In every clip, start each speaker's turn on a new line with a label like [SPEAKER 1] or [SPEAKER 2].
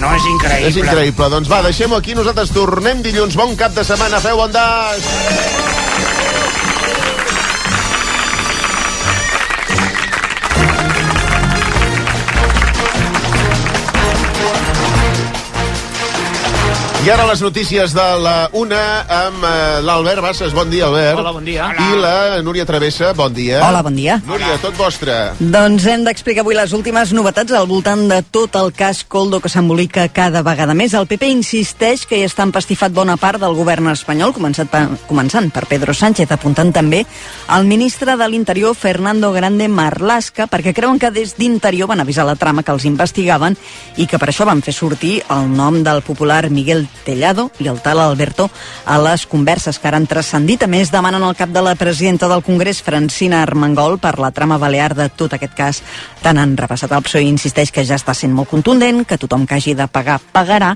[SPEAKER 1] no? És increïble.
[SPEAKER 2] És increïble. Doncs va, deixem-ho aquí. Nosaltres tornem dilluns. Bon cap de setmana. Feu bondat! I ara les notícies de la una amb eh, l'Albert Bassas. Bon dia, Albert.
[SPEAKER 3] Hola, bon dia.
[SPEAKER 2] I la Núria Travessa. Bon dia.
[SPEAKER 4] Hola, bon dia.
[SPEAKER 2] Núria, tot vostre.
[SPEAKER 4] Doncs hem d'explicar avui les últimes novetats al voltant de tot el cas Coldo que s'embolica cada vegada més. El PP insisteix que hi està empastifat bona part del govern espanyol, començat per, començant per Pedro Sánchez, apuntant també al ministre de l'Interior, Fernando Grande Marlaska, perquè creuen que des d'Interior van avisar la trama que els investigaven i que per això van fer sortir el nom del popular Miguel Tellado i el tal Alberto a les converses que ara han transcendit. A més, demanen al cap de la presidenta del Congrés, Francina Armengol, per la trama balear de tot aquest cas tan enrepassat. El PSOE insisteix que ja està sent molt contundent, que tothom que hagi de pagar, pagarà,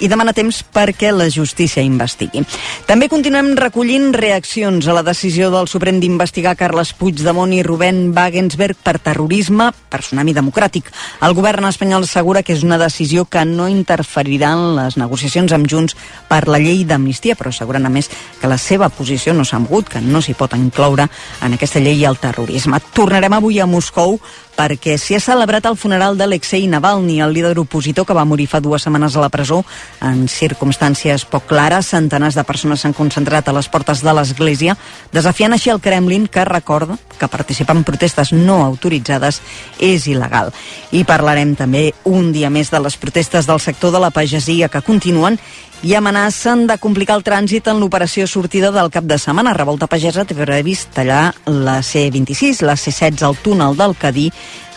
[SPEAKER 4] i demana temps perquè la justícia investigui. També continuem recollint reaccions a la decisió del Suprem d'investigar Carles Puigdemont i Rubén Wagensberg per terrorisme, per tsunami democràtic. El govern espanyol assegura que és una decisió que no interferirà en les negociacions amb Junts per la llei d'amnistia, però asseguren a més que la seva posició no s'ha mogut, que no s'hi pot incloure en aquesta llei el terrorisme. Tornarem avui a Moscou perquè s'hi ha celebrat el funeral d'Alexei Navalny, el líder opositor que va morir fa dues setmanes a la presó en circumstàncies poc clares. Centenars de persones s'han concentrat a les portes de l'església, desafiant així el Kremlin, que recorda que participar en protestes no autoritzades és il·legal. I parlarem també un dia més de les protestes del sector de la pagesia que continuen i amenacen de complicar el trànsit en l'operació sortida del cap de setmana. Revolta Pagesa té previst tallar la C-26, la C-16 al túnel del Cadí,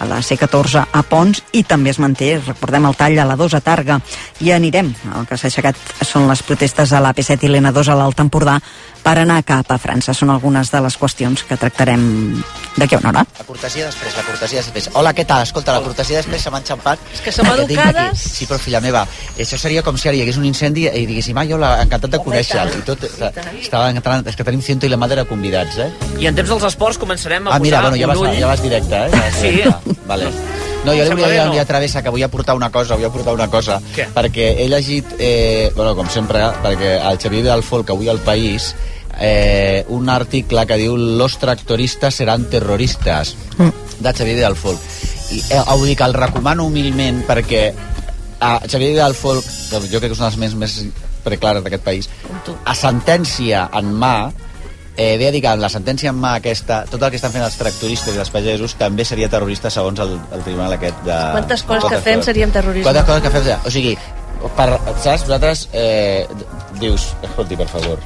[SPEAKER 4] a la C-14 a Pons i també es manté, recordem, el tall a la 2 a Targa. I anirem. El que s'ha aixecat són les protestes a la P7 i l'N2 a l'Alt Empordà per anar cap a França. Són algunes de les qüestions que tractarem d'aquí a una hora.
[SPEAKER 5] La cortesia després, la cortesia després. Hola, què tal? Escolta, la cortesia després se m'ha enxampat.
[SPEAKER 6] És que som
[SPEAKER 5] Perquè tinc
[SPEAKER 6] educades.
[SPEAKER 5] aquí- Sí, però filla meva, això seria com si ara hi hagués un incendi i diguéssim, ah, jo l'he encantat de
[SPEAKER 6] Home,
[SPEAKER 5] conèixer.
[SPEAKER 6] i tant.
[SPEAKER 5] I tot,
[SPEAKER 6] I tant.
[SPEAKER 5] estava encantant, és que tenim ciento i la madre convidats, eh?
[SPEAKER 3] I en temps dels esports començarem a
[SPEAKER 5] Ah, mira,
[SPEAKER 3] posar
[SPEAKER 5] bueno, ja vas,
[SPEAKER 3] un ull...
[SPEAKER 5] ja vas directe, eh? Ja vas
[SPEAKER 3] Sí.
[SPEAKER 5] directe. Vale. No, jo
[SPEAKER 3] Em
[SPEAKER 5] li volia
[SPEAKER 3] sembla
[SPEAKER 5] dir
[SPEAKER 3] bé,
[SPEAKER 5] a
[SPEAKER 3] no?
[SPEAKER 5] Núria Travessa que voy a portar una cosa, voy a portar una cosa,
[SPEAKER 3] Què?
[SPEAKER 5] perquè he llegit, eh, bueno, com sempre, perquè el Xavier Vidal que avui al País, eh, un article que diu «Los tractoristas serán terroristas», de Xavier Vidal Folk. I, eh, ho dic, el recomano humilment perquè a Xavier Vidal Folk, que jo crec que és una de les més, més preclares d'aquest país, a sentència en mà, eh, ve a dir que en la sentència en mà aquesta, tot el que estan fent els tractoristes i els pagesos també seria terrorista segons el, el tribunal aquest de...
[SPEAKER 6] Quantes coses que fem serien terrorisme.
[SPEAKER 5] Quantes coses que fem serien... O sigui, per, saps, vosaltres eh, d- dius, escolti, per favor,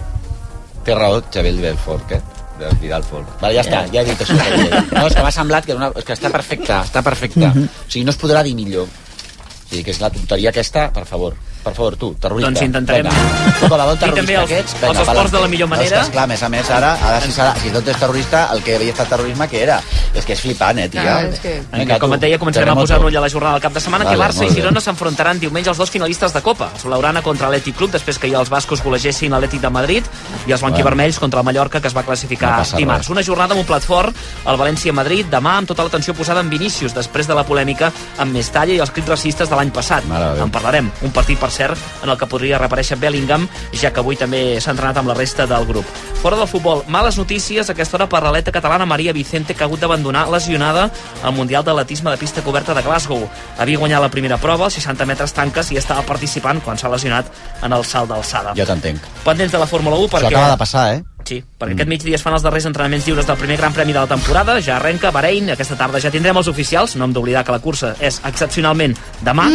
[SPEAKER 5] té raó Xavier Vidal Folk, eh? de Vidal Folk. Vale, ja està,
[SPEAKER 3] Eh.
[SPEAKER 5] ja he dit això. Que havia dit. no, és que m'ha semblat que, era una, és que està perfecte, està perfecte.
[SPEAKER 3] Mhm.
[SPEAKER 5] O sigui, no es podrà dir millor. O sigui, que és la tonteria aquesta, per favor. Per favor, tu, terrorista.
[SPEAKER 3] Doncs intentarem.
[SPEAKER 5] Vinga. Tu, com a bon
[SPEAKER 3] I també
[SPEAKER 5] terrorista
[SPEAKER 3] els-
[SPEAKER 5] que ets,
[SPEAKER 3] els esports
[SPEAKER 5] pa'lante.
[SPEAKER 3] de la millor
[SPEAKER 5] No,
[SPEAKER 3] manera.
[SPEAKER 5] és Doncs que, esclar, a més a més, ara, ara si, serà, si tot és terrorista, el que havia estat terrorisme, què era? És que és flipant, eh, tia?
[SPEAKER 6] Ah, és que-
[SPEAKER 3] Vinga, com et deia, començarem a
[SPEAKER 5] terremoto.
[SPEAKER 3] posar un ull a la jornada del cap de setmana, que
[SPEAKER 5] Vale,
[SPEAKER 3] Barça i
[SPEAKER 5] molt bé.
[SPEAKER 3] Girona s'enfrontaran diumenge als dos finalistes de Copa. El Solaurana contra l'Atlètic Club, després que ahir els bascos golegessin l'Atlètic de Madrid, i els blanquivermells contra el Mallorca, que es va classificar
[SPEAKER 5] No passa
[SPEAKER 3] dimarts.
[SPEAKER 5] res.
[SPEAKER 3] Una jornada amb un plat fort, el València-Madrid, demà amb tota l'atenció posada en Vinícius, després de la polèmica amb Mestalla i els crits racistes de l'any passat.
[SPEAKER 5] Mare de Déu.
[SPEAKER 3] En parlarem. Un partit, per cert, en el que podria reaparèixer Bellingham, ja que avui també s'ha entrenat amb la resta del grup. Fora del futbol, males notícies a aquesta hora per l'atleta catalana Maria Vicente, que ha hagut d'abandonar lesionada al Mundial d'Atletisme de Pista Coberta de Glasgow. Havia guanyat la primera prova, els 60 metres tanques, i estava participant quan s'ha lesionat en el salt d'alçada.
[SPEAKER 5] Jo t'entenc.
[SPEAKER 3] Pendents de la Fórmula 1
[SPEAKER 5] Això
[SPEAKER 3] perquè...
[SPEAKER 5] acaba de passar, eh?
[SPEAKER 3] Sí, perquè aquest migdia es fan els darrers entrenaments lliures del primer Gran Premi de la temporada, ja arrenca Bahrein, aquesta tarda ja tindrem els oficials, no hem d'oblidar que la cursa és excepcionalment demà,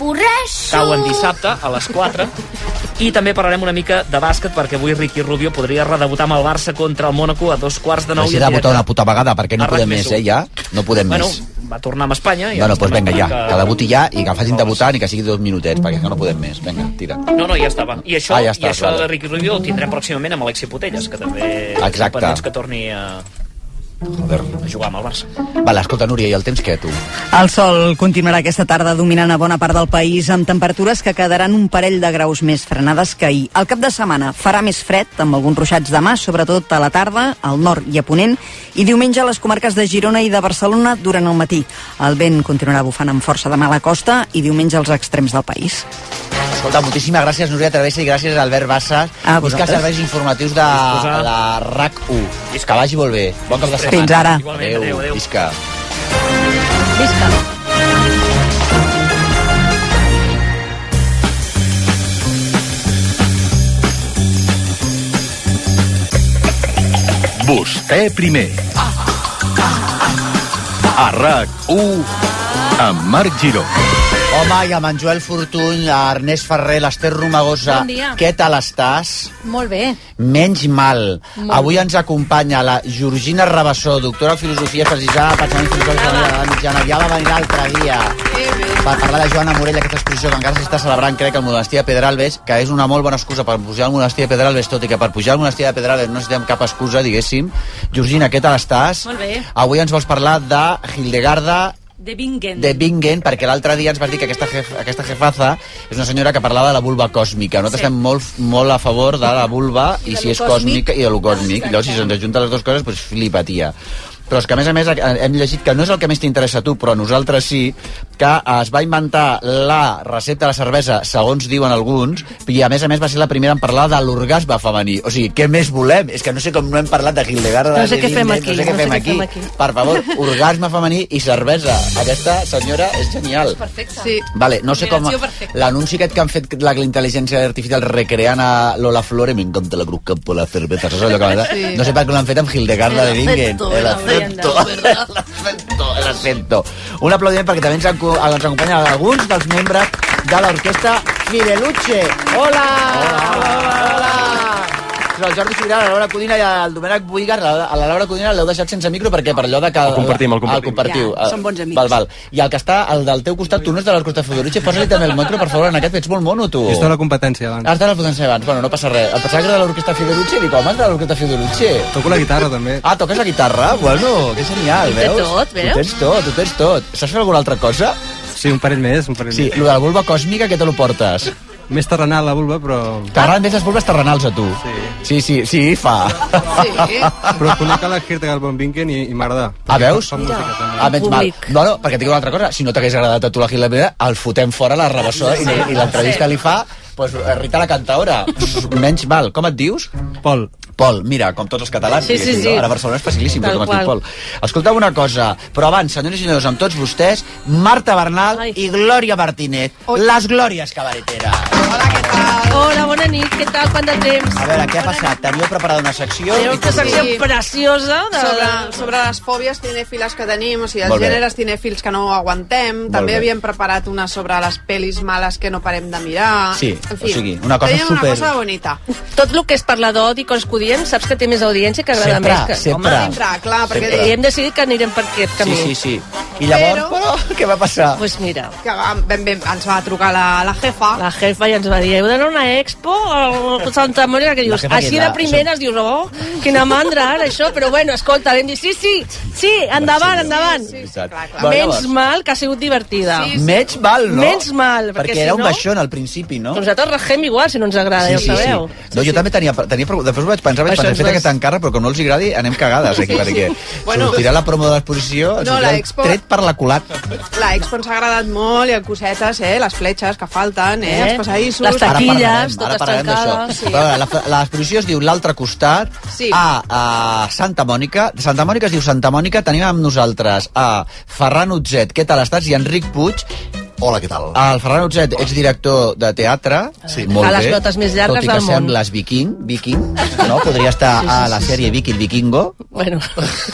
[SPEAKER 7] M'avorreixo!
[SPEAKER 3] cauen dissabte a les 4, i també parlarem una mica de bàsquet, perquè avui Ricky Rubio podria redebutar amb el Barça contra el Mónaco a dos quarts de nou.
[SPEAKER 5] Deixi
[SPEAKER 3] i en
[SPEAKER 5] de votar
[SPEAKER 3] directe-
[SPEAKER 5] una puta vegada, perquè no
[SPEAKER 3] Arran
[SPEAKER 5] podem
[SPEAKER 3] més
[SPEAKER 5] més,
[SPEAKER 3] un.
[SPEAKER 5] eh, ja? No podem
[SPEAKER 3] Bueno,
[SPEAKER 5] més.
[SPEAKER 3] va tornar amb Espanya... i
[SPEAKER 5] Bueno, doncs
[SPEAKER 3] estem
[SPEAKER 5] vinga, ja,
[SPEAKER 3] esperant
[SPEAKER 5] que debuti ja i que el facin debutar i que sigui dos minutets, perquè és que no podem més. Vinga, tira.
[SPEAKER 3] No, no, ja estava. I això,
[SPEAKER 5] Ah, ja
[SPEAKER 3] i
[SPEAKER 5] estàs,
[SPEAKER 3] això
[SPEAKER 5] vale.
[SPEAKER 3] de Ricky Rubio ho tindrem pròximament amb Alexi Putelles, que també...
[SPEAKER 5] Exacte.
[SPEAKER 3] pendents que torni a...
[SPEAKER 5] Joder.
[SPEAKER 3] a jugar amb el Barça.
[SPEAKER 5] Vale, escolta, Núria, i el temps què, tu?
[SPEAKER 4] El sol continuarà aquesta tarda dominant a bona part del país amb temperatures que quedaran un parell de graus més frenades que ahir. Al cap de setmana farà més fred, amb alguns ruixats de mà, sobretot a la tarda, al nord i a Ponent, i diumenge a les comarques de Girona i de Barcelona durant el matí. El vent continuarà bufant amb força de mala costa i diumenge als extrems del país.
[SPEAKER 5] Escolta, moltíssimes gràcies, Núria Travessa, i gràcies, Albert Bassas.
[SPEAKER 4] A
[SPEAKER 5] Visca
[SPEAKER 4] Ah, vosaltres.
[SPEAKER 5] els serveis informatius de
[SPEAKER 3] Disposa.
[SPEAKER 5] la RAC1.
[SPEAKER 3] Visca.
[SPEAKER 5] Que vagi molt bé. Bon cap de setmana.
[SPEAKER 4] Fins ara.
[SPEAKER 3] Igualment, adéu, adéu.
[SPEAKER 5] Visca.
[SPEAKER 6] Visca.
[SPEAKER 1] Vostè primer. A RAC1 amb Marc Giró.
[SPEAKER 5] Home, i amb en Joel Fortuny, a Ernest Ferrer, l'Ester Romagosa.
[SPEAKER 6] Bon dia.
[SPEAKER 5] Què tal estàs?
[SPEAKER 6] Molt bé.
[SPEAKER 5] Menys mal.
[SPEAKER 6] Molt
[SPEAKER 5] Avui ens acompanya la Georgina Rabassó, doctora en Filosofia, especialitzada en pensament filosòfic de la Edat mitjana. Ja va venir l'altre dia per parlar de Joana Morell, aquesta exposició que encara s'està celebrant, crec, al monestir de Pedralbes, que és una molt bona excusa per pujar al monestir de Pedralbes, tot i que per pujar al monestir de Pedralbes no necessitem cap excusa, diguéssim. Georgina, què tal estàs?
[SPEAKER 7] Molt bé.
[SPEAKER 5] Avui ens vols parlar de Hildegarda
[SPEAKER 7] De Bingen.
[SPEAKER 5] de Bingen, perquè l'altre dia ens vas dir que aquesta, jef, aquesta jefaza és una senyora que parlava de la vulva còsmica. Nosaltres sí. estem molt, molt a favor de la vulva i,
[SPEAKER 6] de
[SPEAKER 5] si
[SPEAKER 6] lo
[SPEAKER 5] és còsmica
[SPEAKER 6] còsmic.
[SPEAKER 5] i de lo còsmic. Llavors, si se'ns ajunta les dues coses, doncs flipatia. Però és que, a més a més, hem llegit que no és el que més t'interessa a tu, però a nosaltres sí, que eh, es va inventar la recepta de la cervesa, segons diuen alguns, i a més a més va ser la primera en parlar de l'orgasme femení. O sigui, què més volem? És que no sé com no hem parlat de Hildegard,
[SPEAKER 6] No sé què fem aquí,
[SPEAKER 5] no sé què fem aquí. Per favor, orgasme femení i cervesa. Aquesta senyora és genial.
[SPEAKER 7] Perfecte. Sí.
[SPEAKER 5] Vale, no sé com...
[SPEAKER 7] Combinació perfecta.
[SPEAKER 5] L'anunci aquest que han fet la intel·ligència artificial recreant a Lola Flore, m'encanta la cruz campo, la cerveza, saps allò que m'agrada? Sí. No sé per què l'han fet amb Hildegarda de Bingen. El acento, l'acento, l'acento. Un aplaudiment perquè també ens, enco- ens acompanyen alguns dels membres de l'orquestra Fideluche. Hola! Hola! Hola! Però el Jordi Sobirà, la Laura Codina i el Domènec Buigar, la, a la Laura Codina l'heu deixat sense micro perquè per allò de que... El
[SPEAKER 8] compartim, el compartim.
[SPEAKER 5] El compartiu.
[SPEAKER 7] Ja,
[SPEAKER 5] Eh,
[SPEAKER 7] són bons amics.
[SPEAKER 5] Val, val. I el que està al del teu costat, tu no és de l'Escorta Fodorici, posa-li també el micro, per favor, en aquest, que ets molt mono, tu.
[SPEAKER 8] Jo estava a tota la competència doncs. abans.
[SPEAKER 5] Has de la potència abans, bueno, no passa res. El pensava que era de l'Orquestra Fiorucci, dic, home, és de l'Orquestra Fiorucci.
[SPEAKER 8] Toco la guitarra, també.
[SPEAKER 5] Ah, toques la guitarra? Bueno, que genial,
[SPEAKER 6] Ho té
[SPEAKER 5] veus?
[SPEAKER 6] tot, veus?
[SPEAKER 5] Ho tens tot, ho tens tot. Saps fer alguna altra cosa?
[SPEAKER 8] Sí, un parell més, un parell
[SPEAKER 5] Sí,
[SPEAKER 8] més.
[SPEAKER 5] lo de la vulva còsmica, què te lo portes?
[SPEAKER 8] Més terrenal, la vulva, però...
[SPEAKER 5] T'agraden més les vulves terrenals a tu? Sí, sí, sí, fa. Sí.
[SPEAKER 8] Però conec a la Hirtegal von Bingen i, i m'agrada.
[SPEAKER 5] Ah, veus?
[SPEAKER 8] Fa música, també.
[SPEAKER 5] Ah, menys mal.
[SPEAKER 6] Públic.
[SPEAKER 5] No, no, perquè et dic una altra cosa. Si no t'hagués agradat a tu la Gilabera, el fotem fora a la rebessó i, i l'entrevista li fa pues, Rita la cantaora. Menys mal. Com et dius?
[SPEAKER 8] Pol,
[SPEAKER 5] Pol, mira, com tots els catalans.
[SPEAKER 6] Sí, sí,
[SPEAKER 5] diguéssim,
[SPEAKER 6] sí.
[SPEAKER 5] no? Ara a Barcelona és facilíssim,
[SPEAKER 6] Tal
[SPEAKER 5] però com es diu
[SPEAKER 6] qual.
[SPEAKER 5] Pol. Escolta'm una cosa, però abans, senyores i senyors, amb tots vostès, Marta Bernal
[SPEAKER 6] Ai.
[SPEAKER 5] i Glòria Martínez, les glòries cabareteres.
[SPEAKER 6] Hola, bona nit, què tal, quant de temps?
[SPEAKER 5] A veure, què ha passat? Teníeu preparada una secció?
[SPEAKER 6] Teniu una secció
[SPEAKER 7] Sí.
[SPEAKER 6] preciosa de...
[SPEAKER 7] Sobre, sobre les fòbies cinèfiles que tenim, o sigui, els
[SPEAKER 5] Molt bé.
[SPEAKER 7] gèneres cinèfils que no aguantem.
[SPEAKER 5] Molt
[SPEAKER 7] També
[SPEAKER 5] bé.
[SPEAKER 7] havíem preparat una sobre les pel·lis males que no parem de mirar.
[SPEAKER 5] Sí,
[SPEAKER 7] en fi,
[SPEAKER 5] o sigui, una cosa
[SPEAKER 7] teníem
[SPEAKER 5] super-
[SPEAKER 7] una cosa bonita.
[SPEAKER 6] Tot el que és parlar d'odi, coses que odiem, saps que té més audiència que agrada
[SPEAKER 5] Sempre,
[SPEAKER 6] més que...
[SPEAKER 5] sempre.
[SPEAKER 7] Sempre, clar, perquè
[SPEAKER 5] Sempre.
[SPEAKER 6] I hem decidit que anirem per aquest
[SPEAKER 5] Sí,
[SPEAKER 6] camí.
[SPEAKER 5] sí, sí. I llavors, però, què va passar?
[SPEAKER 6] Doncs Pues mira,
[SPEAKER 7] que ben, ben, ens va trucar la, la jefa.
[SPEAKER 6] la jefa ja ens va dir, heu d'anar a una expo a Santa Mònica, que dius,
[SPEAKER 5] jefa que
[SPEAKER 6] així
[SPEAKER 5] era-
[SPEAKER 6] de primeres, dius, oh, quina mandra, ara, això, però bueno, escolta, vam dir, sí, sí,
[SPEAKER 5] Doncs
[SPEAKER 6] sí, endavant, endavant.
[SPEAKER 5] Sí, sí, clar, clar.
[SPEAKER 6] Menys mal que ha sigut divertida.
[SPEAKER 7] Sí,
[SPEAKER 5] Menys mal, no?
[SPEAKER 6] Menys mal, perquè
[SPEAKER 5] perquè
[SPEAKER 6] si
[SPEAKER 5] era un
[SPEAKER 6] no-
[SPEAKER 5] baixón al principi, no?
[SPEAKER 6] Doncs Nosaltres regem igual, si no ens agrada, ja ho sabeu.
[SPEAKER 5] No, jo també tenia, tenia preocup- després ho vaig pensar, vaig
[SPEAKER 6] Això
[SPEAKER 5] pensar,
[SPEAKER 6] ens
[SPEAKER 5] feta
[SPEAKER 6] vas-
[SPEAKER 5] que t'encarra, però com no els agradi, anem cagades aquí, perquè
[SPEAKER 7] Bueno.
[SPEAKER 5] sortirà la promo de l'exposició,
[SPEAKER 7] No,
[SPEAKER 5] sortirà
[SPEAKER 7] la
[SPEAKER 5] el
[SPEAKER 7] expo-
[SPEAKER 5] tret per la culata.
[SPEAKER 7] La Expo ens ha agradat molt, i el cosetes, eh? les fletxes que falten, eh?
[SPEAKER 6] Eh?
[SPEAKER 7] els passadissos...
[SPEAKER 6] Les taquilles.
[SPEAKER 5] Ara parlarem,
[SPEAKER 6] totes
[SPEAKER 5] ara parlarem
[SPEAKER 6] tancades,
[SPEAKER 5] d'això.
[SPEAKER 6] sí.
[SPEAKER 5] Sí. L'exposició es diu L'altre costat,
[SPEAKER 7] Sí.
[SPEAKER 5] a, a Santa Mònica. De Santa Mònica es diu Santa Mònica. Tenim amb nosaltres a Ferran Utzet, què tal estàs? I Enric Puig,
[SPEAKER 2] Hola, què tal?
[SPEAKER 5] El Ferran Utzet, ets director de teatre. Sí.
[SPEAKER 6] A Eh, les notes més
[SPEAKER 5] Tot
[SPEAKER 6] llargues
[SPEAKER 5] i que
[SPEAKER 6] del món.
[SPEAKER 5] sembles viking, viking, no? Podria estar sí, sí, a la sèrie Viking Vikingo.
[SPEAKER 6] Bueno,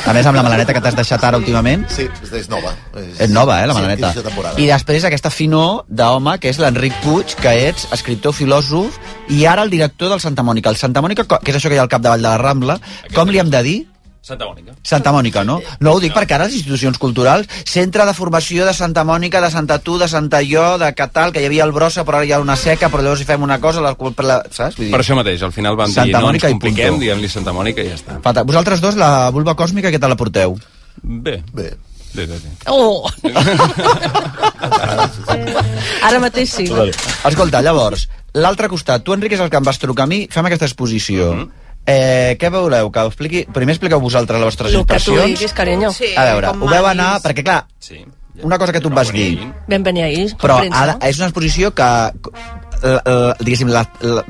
[SPEAKER 5] A més, amb la malaneta que t'has deixat ara últimament.
[SPEAKER 2] Sí, és, és nova. És,
[SPEAKER 5] És nova, eh, la
[SPEAKER 2] Sí,
[SPEAKER 5] malaneta.
[SPEAKER 2] és de temporada.
[SPEAKER 5] I després aquesta finor d'home, que és l'Enric Puig, que ets escriptor, filòsof, i ara el director del Santa Mònica. El Santa Mònica, co- que és això que hi ha al capdavall de la Rambla, com li hem de dir?
[SPEAKER 9] Santa Mònica.
[SPEAKER 5] Santa Mònica, no? No, ho dic perquè ara les institucions culturals, centre de formació de Santa Mònica, de Santa Tu, de Santa Jo, de Catal, que hi havia el Brossa, però ara hi ha una seca, però llavors hi fem una cosa, la, per la, saps? Vull
[SPEAKER 9] Per això mateix, al final van dir,
[SPEAKER 5] Santa
[SPEAKER 9] no ens
[SPEAKER 5] Mònica i
[SPEAKER 9] compliquem,
[SPEAKER 5] punto.
[SPEAKER 9] diguem-li Santa Mònica i ja està.
[SPEAKER 5] Fata. Vosaltres dos, la vulva còsmica, què te la porteu?
[SPEAKER 9] Bé, bé,
[SPEAKER 2] Bé.
[SPEAKER 9] bé, bé.
[SPEAKER 6] Oh! Ara mateix sí.
[SPEAKER 5] Escolta, llavors, l'altre costat, tu, Enric, és el que em vas trucar a mi, fem aquesta exposició.
[SPEAKER 9] Mhm.
[SPEAKER 5] eh, què veureu? Que ho expliqui... Primer expliqueu vosaltres les vostres
[SPEAKER 6] Lo que tu
[SPEAKER 5] impressions.
[SPEAKER 6] diguis, carinyo. Sí.
[SPEAKER 5] a veure, ho veu anar, perquè clar,
[SPEAKER 9] Sí.
[SPEAKER 5] Una cosa que tu em vas dir.
[SPEAKER 6] Ben venir ahir.
[SPEAKER 5] però
[SPEAKER 6] premsa.
[SPEAKER 5] ara és una exposició que la, la, diguéssim, la, la,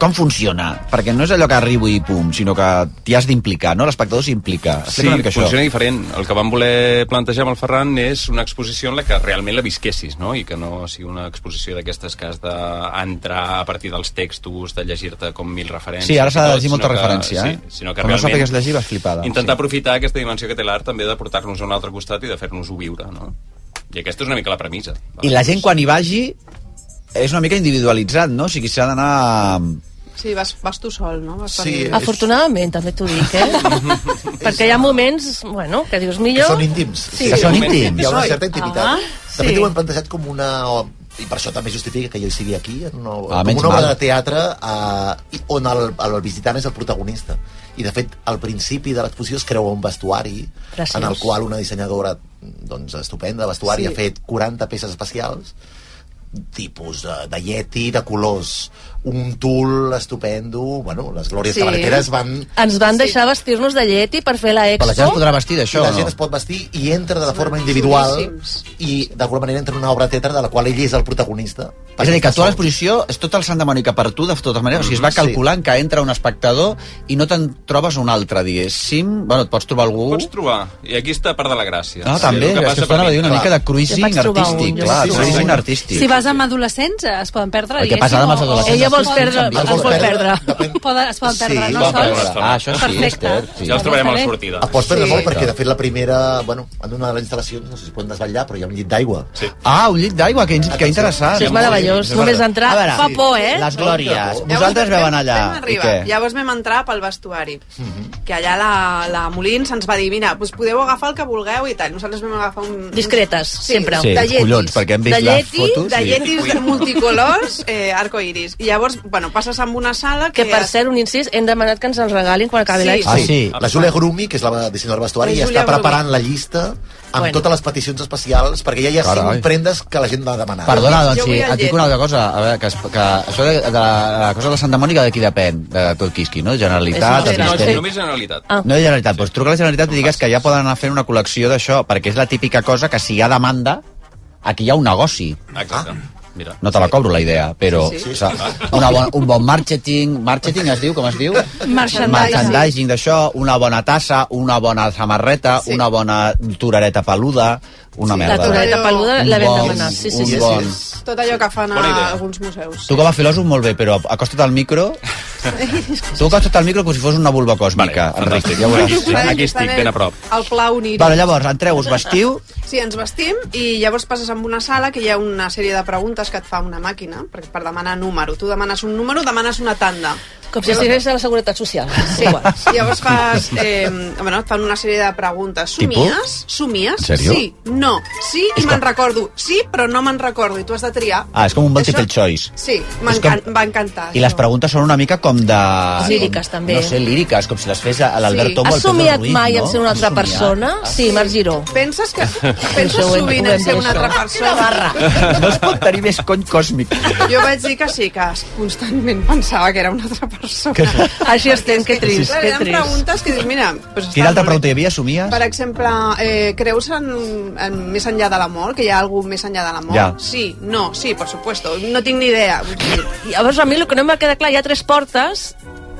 [SPEAKER 5] com funciona? Perquè no és allò que arribo i pum, sinó que t'hi has d'implicar, no? L'espectador s'implica.
[SPEAKER 9] Sí,
[SPEAKER 5] Explica una mica això.
[SPEAKER 9] funciona diferent. El que vam voler plantejar amb el Ferran és una exposició en la que realment la visquessis, no? I que no sigui una exposició d'aquestes que has d'entrar a partir dels textos, de llegir-te com mil referències.
[SPEAKER 5] Sí, ara s'ha de
[SPEAKER 9] i tot,
[SPEAKER 5] llegir molta
[SPEAKER 9] sinó que-
[SPEAKER 5] referència, eh?
[SPEAKER 9] Sí, sinó que
[SPEAKER 5] Com no
[SPEAKER 9] realment...
[SPEAKER 5] sàpigues llegir, vas flipada.
[SPEAKER 9] Intentar
[SPEAKER 5] Sí.
[SPEAKER 9] aprofitar aquesta dimensió que té l'art també de portar-nos a un altre costat i de fer-nos-ho viure, no? I aquesta és una mica la premissa.
[SPEAKER 5] I la gent, quan hi vagi, és una mica individualitzat, no? O sigui, s'ha d'anar... mm,
[SPEAKER 7] Sí, vas, vas tu sol, no?
[SPEAKER 5] eh,
[SPEAKER 7] Vas
[SPEAKER 2] Sí.
[SPEAKER 7] per-
[SPEAKER 6] Afortunadament, també t'ho dic, eh? Perquè hi ha moments, bueno, que dius
[SPEAKER 10] que
[SPEAKER 6] millor...
[SPEAKER 10] són íntims.
[SPEAKER 5] Sí. Que són íntims.
[SPEAKER 10] Hi ha una certa intimitat.
[SPEAKER 6] Ah,
[SPEAKER 10] de fet,
[SPEAKER 6] sí.
[SPEAKER 10] ho hem plantejat com una... I per això també justifica que ell sigui aquí, en una,
[SPEAKER 5] Ah,
[SPEAKER 10] com
[SPEAKER 5] menys
[SPEAKER 10] una obra
[SPEAKER 5] mal.
[SPEAKER 10] de teatre eh, i- on el, el visitant és el protagonista. I, de fet, al principi de l'exposició es creua un vestuari
[SPEAKER 6] Preciós.
[SPEAKER 10] en el qual una dissenyadora doncs, estupenda, vestuari, sí. ha fet 40 peces especials tipus de, de yeti, de colors un tul estupendo bueno, les glòries
[SPEAKER 7] Sí.
[SPEAKER 10] sí. cabareteres van
[SPEAKER 6] Ens van deixar vestir-nos de llet i per fer la
[SPEAKER 5] Però la gent es
[SPEAKER 6] expo.
[SPEAKER 5] podrà vestir
[SPEAKER 10] això,
[SPEAKER 5] d'això,
[SPEAKER 10] la gent
[SPEAKER 5] no?
[SPEAKER 10] es pot vestir i entra de forma individual i d'alguna manera entra en una obra de teatre de la qual ell és el protagonista.
[SPEAKER 5] És a dir, que tu a l'exposició és tot el Santa Mònica per tu, de totes maneres. O sigui, es va
[SPEAKER 6] Mm,
[SPEAKER 10] Sí.
[SPEAKER 5] calculant que entra un espectador i no te'n trobes un altre, diguéssim. Bueno, et pots trobar algú...
[SPEAKER 9] Pots trobar. I aquí està part de la gràcia.
[SPEAKER 5] No, Ah, també,
[SPEAKER 9] el
[SPEAKER 5] és que
[SPEAKER 9] passa
[SPEAKER 5] estava
[SPEAKER 9] per
[SPEAKER 5] dir una
[SPEAKER 9] mi.
[SPEAKER 5] mica de
[SPEAKER 6] Jo
[SPEAKER 5] cruising
[SPEAKER 6] vaig trobar un,
[SPEAKER 5] artístic,
[SPEAKER 6] jo
[SPEAKER 5] clar,
[SPEAKER 6] vaig trobar
[SPEAKER 5] cruising
[SPEAKER 10] un.
[SPEAKER 5] artístic.
[SPEAKER 11] Si vas amb adolescents, es poden perdre.
[SPEAKER 5] El que passa
[SPEAKER 11] diguéssim,
[SPEAKER 5] amb els
[SPEAKER 11] o-
[SPEAKER 5] adolescents...
[SPEAKER 6] Ella
[SPEAKER 5] es
[SPEAKER 6] vols
[SPEAKER 5] poden
[SPEAKER 6] perdre-
[SPEAKER 5] canviar.
[SPEAKER 6] els vols perdre.
[SPEAKER 10] Depèn...
[SPEAKER 11] Poden, es poden
[SPEAKER 10] Sí,
[SPEAKER 11] perdre,
[SPEAKER 10] es
[SPEAKER 11] no
[SPEAKER 10] poden
[SPEAKER 11] sols.
[SPEAKER 10] perdre.
[SPEAKER 5] Ah, això sí,
[SPEAKER 11] Perfecte.
[SPEAKER 5] Esther. Sí.
[SPEAKER 9] Ja els trobarem a la
[SPEAKER 11] Molt bé.
[SPEAKER 9] sortida.
[SPEAKER 10] Es pots perdre
[SPEAKER 7] Sí.
[SPEAKER 10] molt perquè, de fet, la primera... Bueno, en una de les instal·lacions, no sé si podem desvetllar, però hi ha un llit d'aigua.
[SPEAKER 9] Sí.
[SPEAKER 5] Ah, un llit d'aigua, que, que interessant.
[SPEAKER 6] Sí, és meravellós. Només entrar
[SPEAKER 5] A veure,
[SPEAKER 6] fa por, eh?
[SPEAKER 5] Les glòries.
[SPEAKER 7] Llavors
[SPEAKER 5] Vosaltres
[SPEAKER 7] vam-
[SPEAKER 5] veu anar allà.
[SPEAKER 7] Vam
[SPEAKER 5] I
[SPEAKER 7] arribar.
[SPEAKER 5] què? Mhm.
[SPEAKER 7] Llavors vam entrar pel vestuari, que allà la, la Molins ens va dir, mira, doncs podeu agafar el que vulgueu i tal. Nosalles vam agafar un...
[SPEAKER 6] Discretes, sempre.
[SPEAKER 5] Sí,
[SPEAKER 7] de lletis.
[SPEAKER 5] collons, perquè hem vist
[SPEAKER 6] De
[SPEAKER 5] les
[SPEAKER 6] lleti,
[SPEAKER 5] fotos.
[SPEAKER 7] de
[SPEAKER 5] i-
[SPEAKER 7] lletis de multicolors, eh, arcoiris. I llavors, bueno, passes amb una sala que...
[SPEAKER 6] Que, per cert, un incís, hem demanat que ens el regalin quan acabi
[SPEAKER 7] Sí.
[SPEAKER 6] la
[SPEAKER 5] Ah,
[SPEAKER 6] expo.
[SPEAKER 5] sí.
[SPEAKER 10] La Júlia Grumi, que és la dissenyadora de vestuari,
[SPEAKER 7] La
[SPEAKER 10] ja
[SPEAKER 7] Júlia
[SPEAKER 10] està
[SPEAKER 7] Grumi.
[SPEAKER 10] preparant la llista amb
[SPEAKER 6] Bueno.
[SPEAKER 10] totes les peticions especials, perquè ja hi ha
[SPEAKER 5] Carai.
[SPEAKER 10] cinc prendes que la gent va demanar.
[SPEAKER 5] Perdona,
[SPEAKER 7] Jo
[SPEAKER 5] doncs,
[SPEAKER 7] vull
[SPEAKER 5] sí, et
[SPEAKER 7] el
[SPEAKER 5] dic
[SPEAKER 7] llet.
[SPEAKER 5] una altra cosa. A veure, que, es- que això de, de, la cosa de Santa Mònica d'aquí depèn, de tot quisqui, no? Generalitat, de
[SPEAKER 6] És una
[SPEAKER 9] No,
[SPEAKER 5] Ministeri.
[SPEAKER 9] només generalitat.
[SPEAKER 6] Ah.
[SPEAKER 5] No de Generalitat, doncs truca a la Generalitat i digues que ja poden anar fent una col·lecció d'això, perquè és la típica cosa que si hi ha demanda, aquí hi ha un negoci.
[SPEAKER 9] Exacte. Mira.
[SPEAKER 5] Ah. No te la cobro, la idea, però... Sí, sí. O sigui, una bona, un bon marketing... Marketing es diu, com es diu?
[SPEAKER 11] Merchandising.
[SPEAKER 5] Merchandising d'això, una bona tassa, una bona samarreta, sí. una bona turareta peluda, una sí,
[SPEAKER 6] La
[SPEAKER 5] merda.
[SPEAKER 6] torreta
[SPEAKER 7] Un
[SPEAKER 6] peluda la vam
[SPEAKER 5] bon-
[SPEAKER 6] demanar. Sí, sí,
[SPEAKER 5] un
[SPEAKER 6] sí.
[SPEAKER 5] bon-
[SPEAKER 7] Tot allò que fan
[SPEAKER 9] Bona idea.
[SPEAKER 7] a alguns museus.
[SPEAKER 5] Tu com a filòsof molt bé, però acosta't al micro... tu acosta't al micro com si fos una vulva còsmica, vale, Enric,
[SPEAKER 9] fantàstic.
[SPEAKER 5] ja ho
[SPEAKER 9] Aquí
[SPEAKER 5] veuràs.
[SPEAKER 9] estic, aquí estic, ben a prop.
[SPEAKER 7] El pla unir.
[SPEAKER 5] Vale, llavors, entreu, us vestiu...
[SPEAKER 7] Sí, ens vestim i llavors passes amb una sala que hi ha una sèrie de preguntes que et fa una màquina per, per demanar número. Tu demanes un número, demanes una tanda.
[SPEAKER 6] Com si estigués a la Seguretat Social.
[SPEAKER 7] Sí.
[SPEAKER 6] Igual.
[SPEAKER 7] Llavors fas... Eh, bueno, et fan una sèrie de preguntes. Somies? Somies?
[SPEAKER 5] En sèrio?
[SPEAKER 7] Sí, no, sí i me'n recordo. Sí, però no me'n recordo i tu has de triar.
[SPEAKER 5] Ah, és com un multiple
[SPEAKER 7] Això-
[SPEAKER 5] choice.
[SPEAKER 7] Sí, m'encan- m'encanta.
[SPEAKER 5] I les
[SPEAKER 7] això.
[SPEAKER 5] preguntes són una mica com de...
[SPEAKER 6] Líriques, també.
[SPEAKER 5] No sé, líriques, com si les fes a l'Albert
[SPEAKER 7] Sí.
[SPEAKER 5] Tombo.
[SPEAKER 6] Has
[SPEAKER 5] al Pedro
[SPEAKER 6] somiat
[SPEAKER 5] Ruiz,
[SPEAKER 6] mai
[SPEAKER 5] no?
[SPEAKER 6] en ser una altra
[SPEAKER 5] Has somiat. Ah,
[SPEAKER 6] persona? Sí, Marc Giró.
[SPEAKER 7] Penses que... Penses
[SPEAKER 6] Això ho hem-
[SPEAKER 7] sovint
[SPEAKER 6] ho hem
[SPEAKER 7] en ser
[SPEAKER 6] dit,
[SPEAKER 7] una altra
[SPEAKER 6] això.
[SPEAKER 7] persona?
[SPEAKER 5] No es pot tenir més cony còsmic.
[SPEAKER 7] Jo vaig dir que sí, que constantment pensava que era una altra persona.
[SPEAKER 6] Així estem, que trist,
[SPEAKER 7] Clar,
[SPEAKER 6] que
[SPEAKER 7] eren
[SPEAKER 6] trist.
[SPEAKER 7] preguntes que dius, mira... Pues
[SPEAKER 5] Quina altra pregunta hi havia? Somies?
[SPEAKER 7] Per exemple, eh, creus en, en més enllà de l'amor? Que hi ha algú més enllà de l'amor?
[SPEAKER 5] Ja.
[SPEAKER 7] Sí, no, sí, por supuesto. No tinc ni idea. Vull dir,
[SPEAKER 6] Llavors, a mi el que no m'ha quedat clar, hi ha tres portes,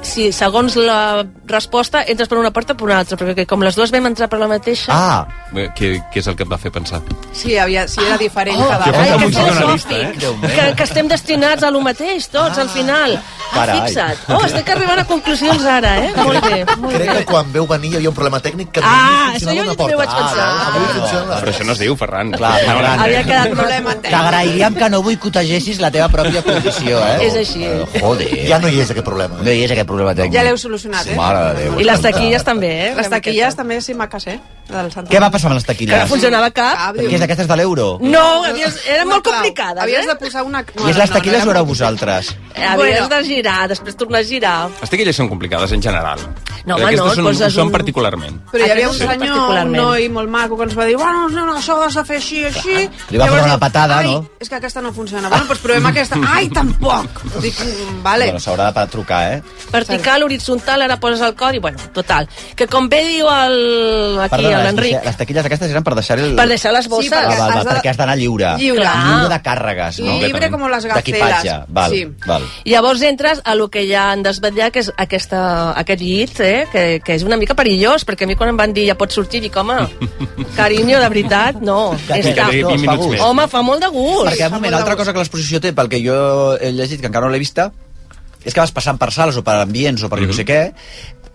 [SPEAKER 6] si segons la resposta entres per una porta o per una altra, perquè com les dues vam entrar per la mateixa...
[SPEAKER 5] Ah,
[SPEAKER 9] Bé, Què, què és el que et va fer pensar?
[SPEAKER 7] Sí, havia, sí era diferent
[SPEAKER 5] Ah,
[SPEAKER 6] Oh,
[SPEAKER 7] cada
[SPEAKER 6] ai,
[SPEAKER 7] vegada.
[SPEAKER 6] que
[SPEAKER 9] un psicoanalista,
[SPEAKER 6] filosòfic,
[SPEAKER 5] eh? Déu meu.
[SPEAKER 6] que, que estem destinats a lo mateix, tots, al final. Ah,
[SPEAKER 10] Carai.
[SPEAKER 6] fixa't. Oh, estic arribant a conclusions ara, eh? Molt bé, molt
[SPEAKER 10] Crec que
[SPEAKER 6] bé.
[SPEAKER 10] quan veu venir hi havia un problema tècnic que
[SPEAKER 6] Ah,
[SPEAKER 10] avui
[SPEAKER 6] això jo
[SPEAKER 10] funcionava una
[SPEAKER 6] també
[SPEAKER 10] porta.
[SPEAKER 6] ho vaig pensar.
[SPEAKER 10] Ah, avui funciona la-
[SPEAKER 9] Però això no es diu, Ferran.
[SPEAKER 5] Clar, Ferran.
[SPEAKER 6] Havia quedat
[SPEAKER 7] problema tècnic.
[SPEAKER 5] T'agrairíem que no boicotegessis la teva pròpia condició, eh?
[SPEAKER 6] És així.
[SPEAKER 5] Joder.
[SPEAKER 10] Ja no hi és aquest problema.
[SPEAKER 5] No hi és aquest problema tècnic.
[SPEAKER 7] Ja l'heu solucionat, eh?
[SPEAKER 5] Mare de Déu.
[SPEAKER 6] I les taquilles també, eh?
[SPEAKER 7] Les taquilles també sí, maques, eh? Del Santa
[SPEAKER 5] Què va passar amb les
[SPEAKER 6] Que no
[SPEAKER 5] taquilles?
[SPEAKER 6] funcionava cap.
[SPEAKER 7] Cap, Ah, diu.
[SPEAKER 5] Què és d'aquestes de l'euro?
[SPEAKER 6] No, havies, era molt
[SPEAKER 7] clau.
[SPEAKER 6] complicada,
[SPEAKER 7] Havies
[SPEAKER 6] eh?
[SPEAKER 7] de posar una...
[SPEAKER 5] I és les taquilles o era vosaltres?
[SPEAKER 6] Havies de girar, després tornar a girar.
[SPEAKER 9] Les taquilles són complicades en general.
[SPEAKER 6] No, home,
[SPEAKER 9] Aquestes
[SPEAKER 6] no, et
[SPEAKER 9] són,
[SPEAKER 6] poses
[SPEAKER 9] ho són
[SPEAKER 6] un-
[SPEAKER 9] particularment.
[SPEAKER 7] Però hi havia un
[SPEAKER 9] Sí.
[SPEAKER 7] senyor, un
[SPEAKER 6] Particularment.
[SPEAKER 7] noi molt maco, que ens va dir, bueno, no, no, això ho has de fer així, així...
[SPEAKER 5] Li va
[SPEAKER 7] Llavors
[SPEAKER 5] fotre una
[SPEAKER 7] diu,
[SPEAKER 5] patada,
[SPEAKER 7] "Ai,
[SPEAKER 5] no?"
[SPEAKER 7] És que aquesta no funciona. Bueno, doncs provem aquesta. Ai, tampoc! Dic, "Mm, vale.
[SPEAKER 5] Bueno, s'haurà de parar a trucar, eh?
[SPEAKER 6] Vertical, horitzontal, ara poses el codi... Bueno, total. Que com bé diu el, aquí
[SPEAKER 5] Perdona, les,
[SPEAKER 6] l'Enric,
[SPEAKER 5] les taquilles aquestes eren per deixar el...
[SPEAKER 6] per deixar les
[SPEAKER 7] Sí,
[SPEAKER 6] bosses...
[SPEAKER 5] Ah, val,
[SPEAKER 7] Has
[SPEAKER 5] val,
[SPEAKER 7] de-
[SPEAKER 5] perquè has d'anar lliure.
[SPEAKER 7] Lliure.
[SPEAKER 5] Lliure de càrregues, no?
[SPEAKER 7] Libre com les gacelas.
[SPEAKER 5] D'equipatge, val,
[SPEAKER 7] Sí.
[SPEAKER 5] val.
[SPEAKER 6] Llavors entres a lo que ja han desvetllat, que és aquesta, aquest llit, eh? que, que és una mica perillós, perquè a mi quan em van dir ja pots sortir, dic, home, carinyo, de veritat, no.
[SPEAKER 5] Que
[SPEAKER 6] És
[SPEAKER 5] té
[SPEAKER 9] que-
[SPEAKER 6] que-
[SPEAKER 5] dos,
[SPEAKER 9] vint minuts
[SPEAKER 5] fa
[SPEAKER 9] més.
[SPEAKER 5] gust.
[SPEAKER 6] Home, fa molt de gust.
[SPEAKER 5] Perquè, un moment, altra cosa que l'exposició té, pel que jo he llegit, que encara no l'he vista, és que vas passant per sales o per ambients o per mm -hmm.
[SPEAKER 9] Mhm.
[SPEAKER 5] jo no sé què,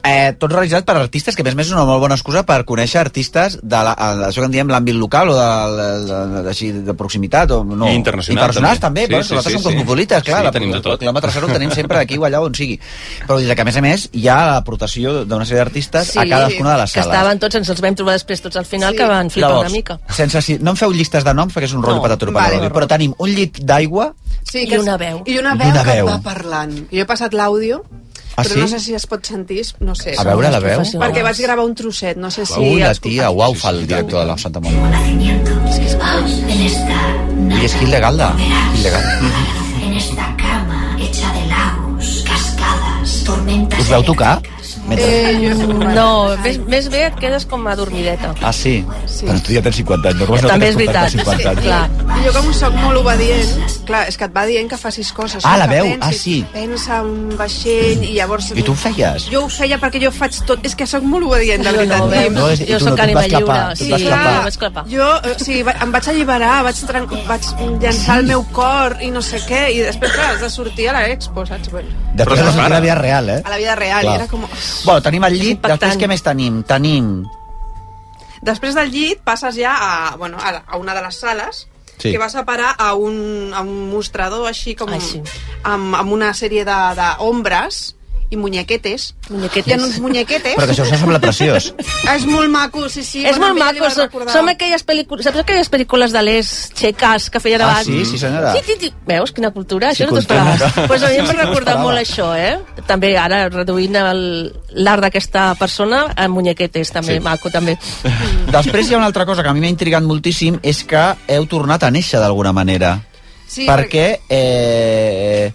[SPEAKER 5] eh, tot realitzat per artistes, que a més a més és una molt bona excusa per conèixer artistes de la, a- això que en diem l'àmbit local o de, de, de, així, de proximitat o no.
[SPEAKER 9] I internacional,
[SPEAKER 5] internacionals també,
[SPEAKER 9] també.
[SPEAKER 5] sí,
[SPEAKER 9] Sí,
[SPEAKER 5] bueno,
[SPEAKER 9] sí,
[SPEAKER 5] sí, nosaltres
[SPEAKER 9] sí,
[SPEAKER 5] sí,
[SPEAKER 9] sí.
[SPEAKER 5] som cosmopolites, clar,
[SPEAKER 9] Sí,
[SPEAKER 5] la-
[SPEAKER 9] tenim de tot.
[SPEAKER 5] quilòmetre zero ho tenim sempre aquí o allà on sigui. Però vull dir que a més a més hi ha l'aportació d'una sèrie d'artistes a cadascuna de les
[SPEAKER 6] que
[SPEAKER 5] sales.
[SPEAKER 6] estaven tots, ens els vam trobar després tots al final,
[SPEAKER 7] Sí.
[SPEAKER 6] sí. que van flipar una mica.
[SPEAKER 5] sense, si, no em feu llistes de noms perquè és un rotllo
[SPEAKER 6] No.
[SPEAKER 5] no, patatero vale,
[SPEAKER 7] Vale.
[SPEAKER 5] però tenim un llit d'aigua
[SPEAKER 7] Sí,
[SPEAKER 6] I una veu.
[SPEAKER 7] I una
[SPEAKER 5] I
[SPEAKER 7] veu,
[SPEAKER 5] una
[SPEAKER 7] que
[SPEAKER 5] veu.
[SPEAKER 7] et va parlant. Jo he passat l'àudio,
[SPEAKER 5] Ah,
[SPEAKER 7] però
[SPEAKER 5] sí?
[SPEAKER 7] no sé si es pot sentir, no sé.
[SPEAKER 5] A veure, la veu.
[SPEAKER 6] Professionals.
[SPEAKER 7] Perquè vaig gravar un trosset, no sé si...
[SPEAKER 5] Sí, la
[SPEAKER 7] els
[SPEAKER 5] tia,
[SPEAKER 7] companys-
[SPEAKER 5] uau, fa el director de la Santa Mònica.
[SPEAKER 12] Es que es en esta
[SPEAKER 5] I és Gil de Galda. Gil de Galda.
[SPEAKER 12] en esta cama hecha de lagos, cascadas, tormentas.
[SPEAKER 5] Us veu tocar? Mentre...
[SPEAKER 7] Eh, jo he sigut-
[SPEAKER 6] No, més, més bé et quedes com adormideta.
[SPEAKER 5] Ah, sí?
[SPEAKER 7] Sí.
[SPEAKER 5] Però tu ja tens 50 anys. Normal,
[SPEAKER 6] També és
[SPEAKER 5] Ah,
[SPEAKER 6] veritat. Clar.
[SPEAKER 7] I jo com soc molt obedient, clar, és que et va dient que facis coses.
[SPEAKER 5] Ah,
[SPEAKER 7] no?
[SPEAKER 5] la
[SPEAKER 7] Que
[SPEAKER 5] veu,
[SPEAKER 7] pensis,
[SPEAKER 5] ah, sí.
[SPEAKER 7] Pensa en un vaixell i llavors...
[SPEAKER 5] I tu ho feies?
[SPEAKER 7] Jo ho feia perquè jo faig tot... És que sóc molt obedient, de
[SPEAKER 6] Jo
[SPEAKER 7] veritat.
[SPEAKER 6] no, veus?
[SPEAKER 5] No, és- i
[SPEAKER 6] jo
[SPEAKER 5] tu no, tu
[SPEAKER 6] sóc
[SPEAKER 5] et
[SPEAKER 6] ànima
[SPEAKER 5] vas
[SPEAKER 6] lliure.
[SPEAKER 5] clapar, tu et
[SPEAKER 6] Sí,
[SPEAKER 5] vas
[SPEAKER 6] jo
[SPEAKER 5] clapar.
[SPEAKER 6] vaig clapar.
[SPEAKER 7] Jo, eh, o sigui, va- em vaig alliberar, vaig, tran... vaig llançar el meu cor i no sé què, i després, clar, has de sortir a l'expo, saps? Bueno,
[SPEAKER 5] Després
[SPEAKER 9] Però
[SPEAKER 5] de
[SPEAKER 9] és
[SPEAKER 5] la
[SPEAKER 9] rara.
[SPEAKER 5] vida real, eh?
[SPEAKER 7] a la vida real,
[SPEAKER 5] Clar.
[SPEAKER 7] i era com... oh,
[SPEAKER 5] Bueno, tenim el llit,
[SPEAKER 6] impactant.
[SPEAKER 5] després què més tenim? Tenim...
[SPEAKER 7] Després del llit passes ja a, bueno, a, a una de les sales,
[SPEAKER 5] Sí.
[SPEAKER 7] sí. que vas a parar a un, a un mostrador així com
[SPEAKER 6] Ai, sí.
[SPEAKER 7] amb, amb una sèrie de- d'ombres i muñequetes.
[SPEAKER 6] Muñequetes.
[SPEAKER 7] Hi ha uns muñequetes.
[SPEAKER 5] Però que això us sembla preciós.
[SPEAKER 7] És molt maco, sí, sí.
[SPEAKER 6] És
[SPEAKER 7] bueno,
[SPEAKER 6] molt
[SPEAKER 7] mira, li
[SPEAKER 6] maco,
[SPEAKER 7] vaig
[SPEAKER 6] som,
[SPEAKER 7] recordar.
[SPEAKER 6] som aquelles pel·lícules... Saps aquelles pel·lícules de les txeques que feien
[SPEAKER 5] Ah,
[SPEAKER 6] abans?
[SPEAKER 5] sí, sí, senyora.
[SPEAKER 6] Sí, sí, sí. Veus, quina cultura,
[SPEAKER 5] Sí,
[SPEAKER 6] això no t'ho
[SPEAKER 5] cultura.
[SPEAKER 6] esperaves. Doncs pues a mi
[SPEAKER 5] Sí,
[SPEAKER 6] em va
[SPEAKER 5] sí, no
[SPEAKER 6] recordar
[SPEAKER 5] m'ho
[SPEAKER 6] molt això,
[SPEAKER 5] esperava.
[SPEAKER 6] eh? També ara reduint el- l'art d'aquesta persona a muñequetes, també,
[SPEAKER 5] Sí.
[SPEAKER 6] sí. maco, també.
[SPEAKER 5] Després hi ha una altra cosa que a mi m'ha intrigat moltíssim, és que heu tornat a néixer d'alguna manera.
[SPEAKER 7] Sí,
[SPEAKER 5] perquè... Eh,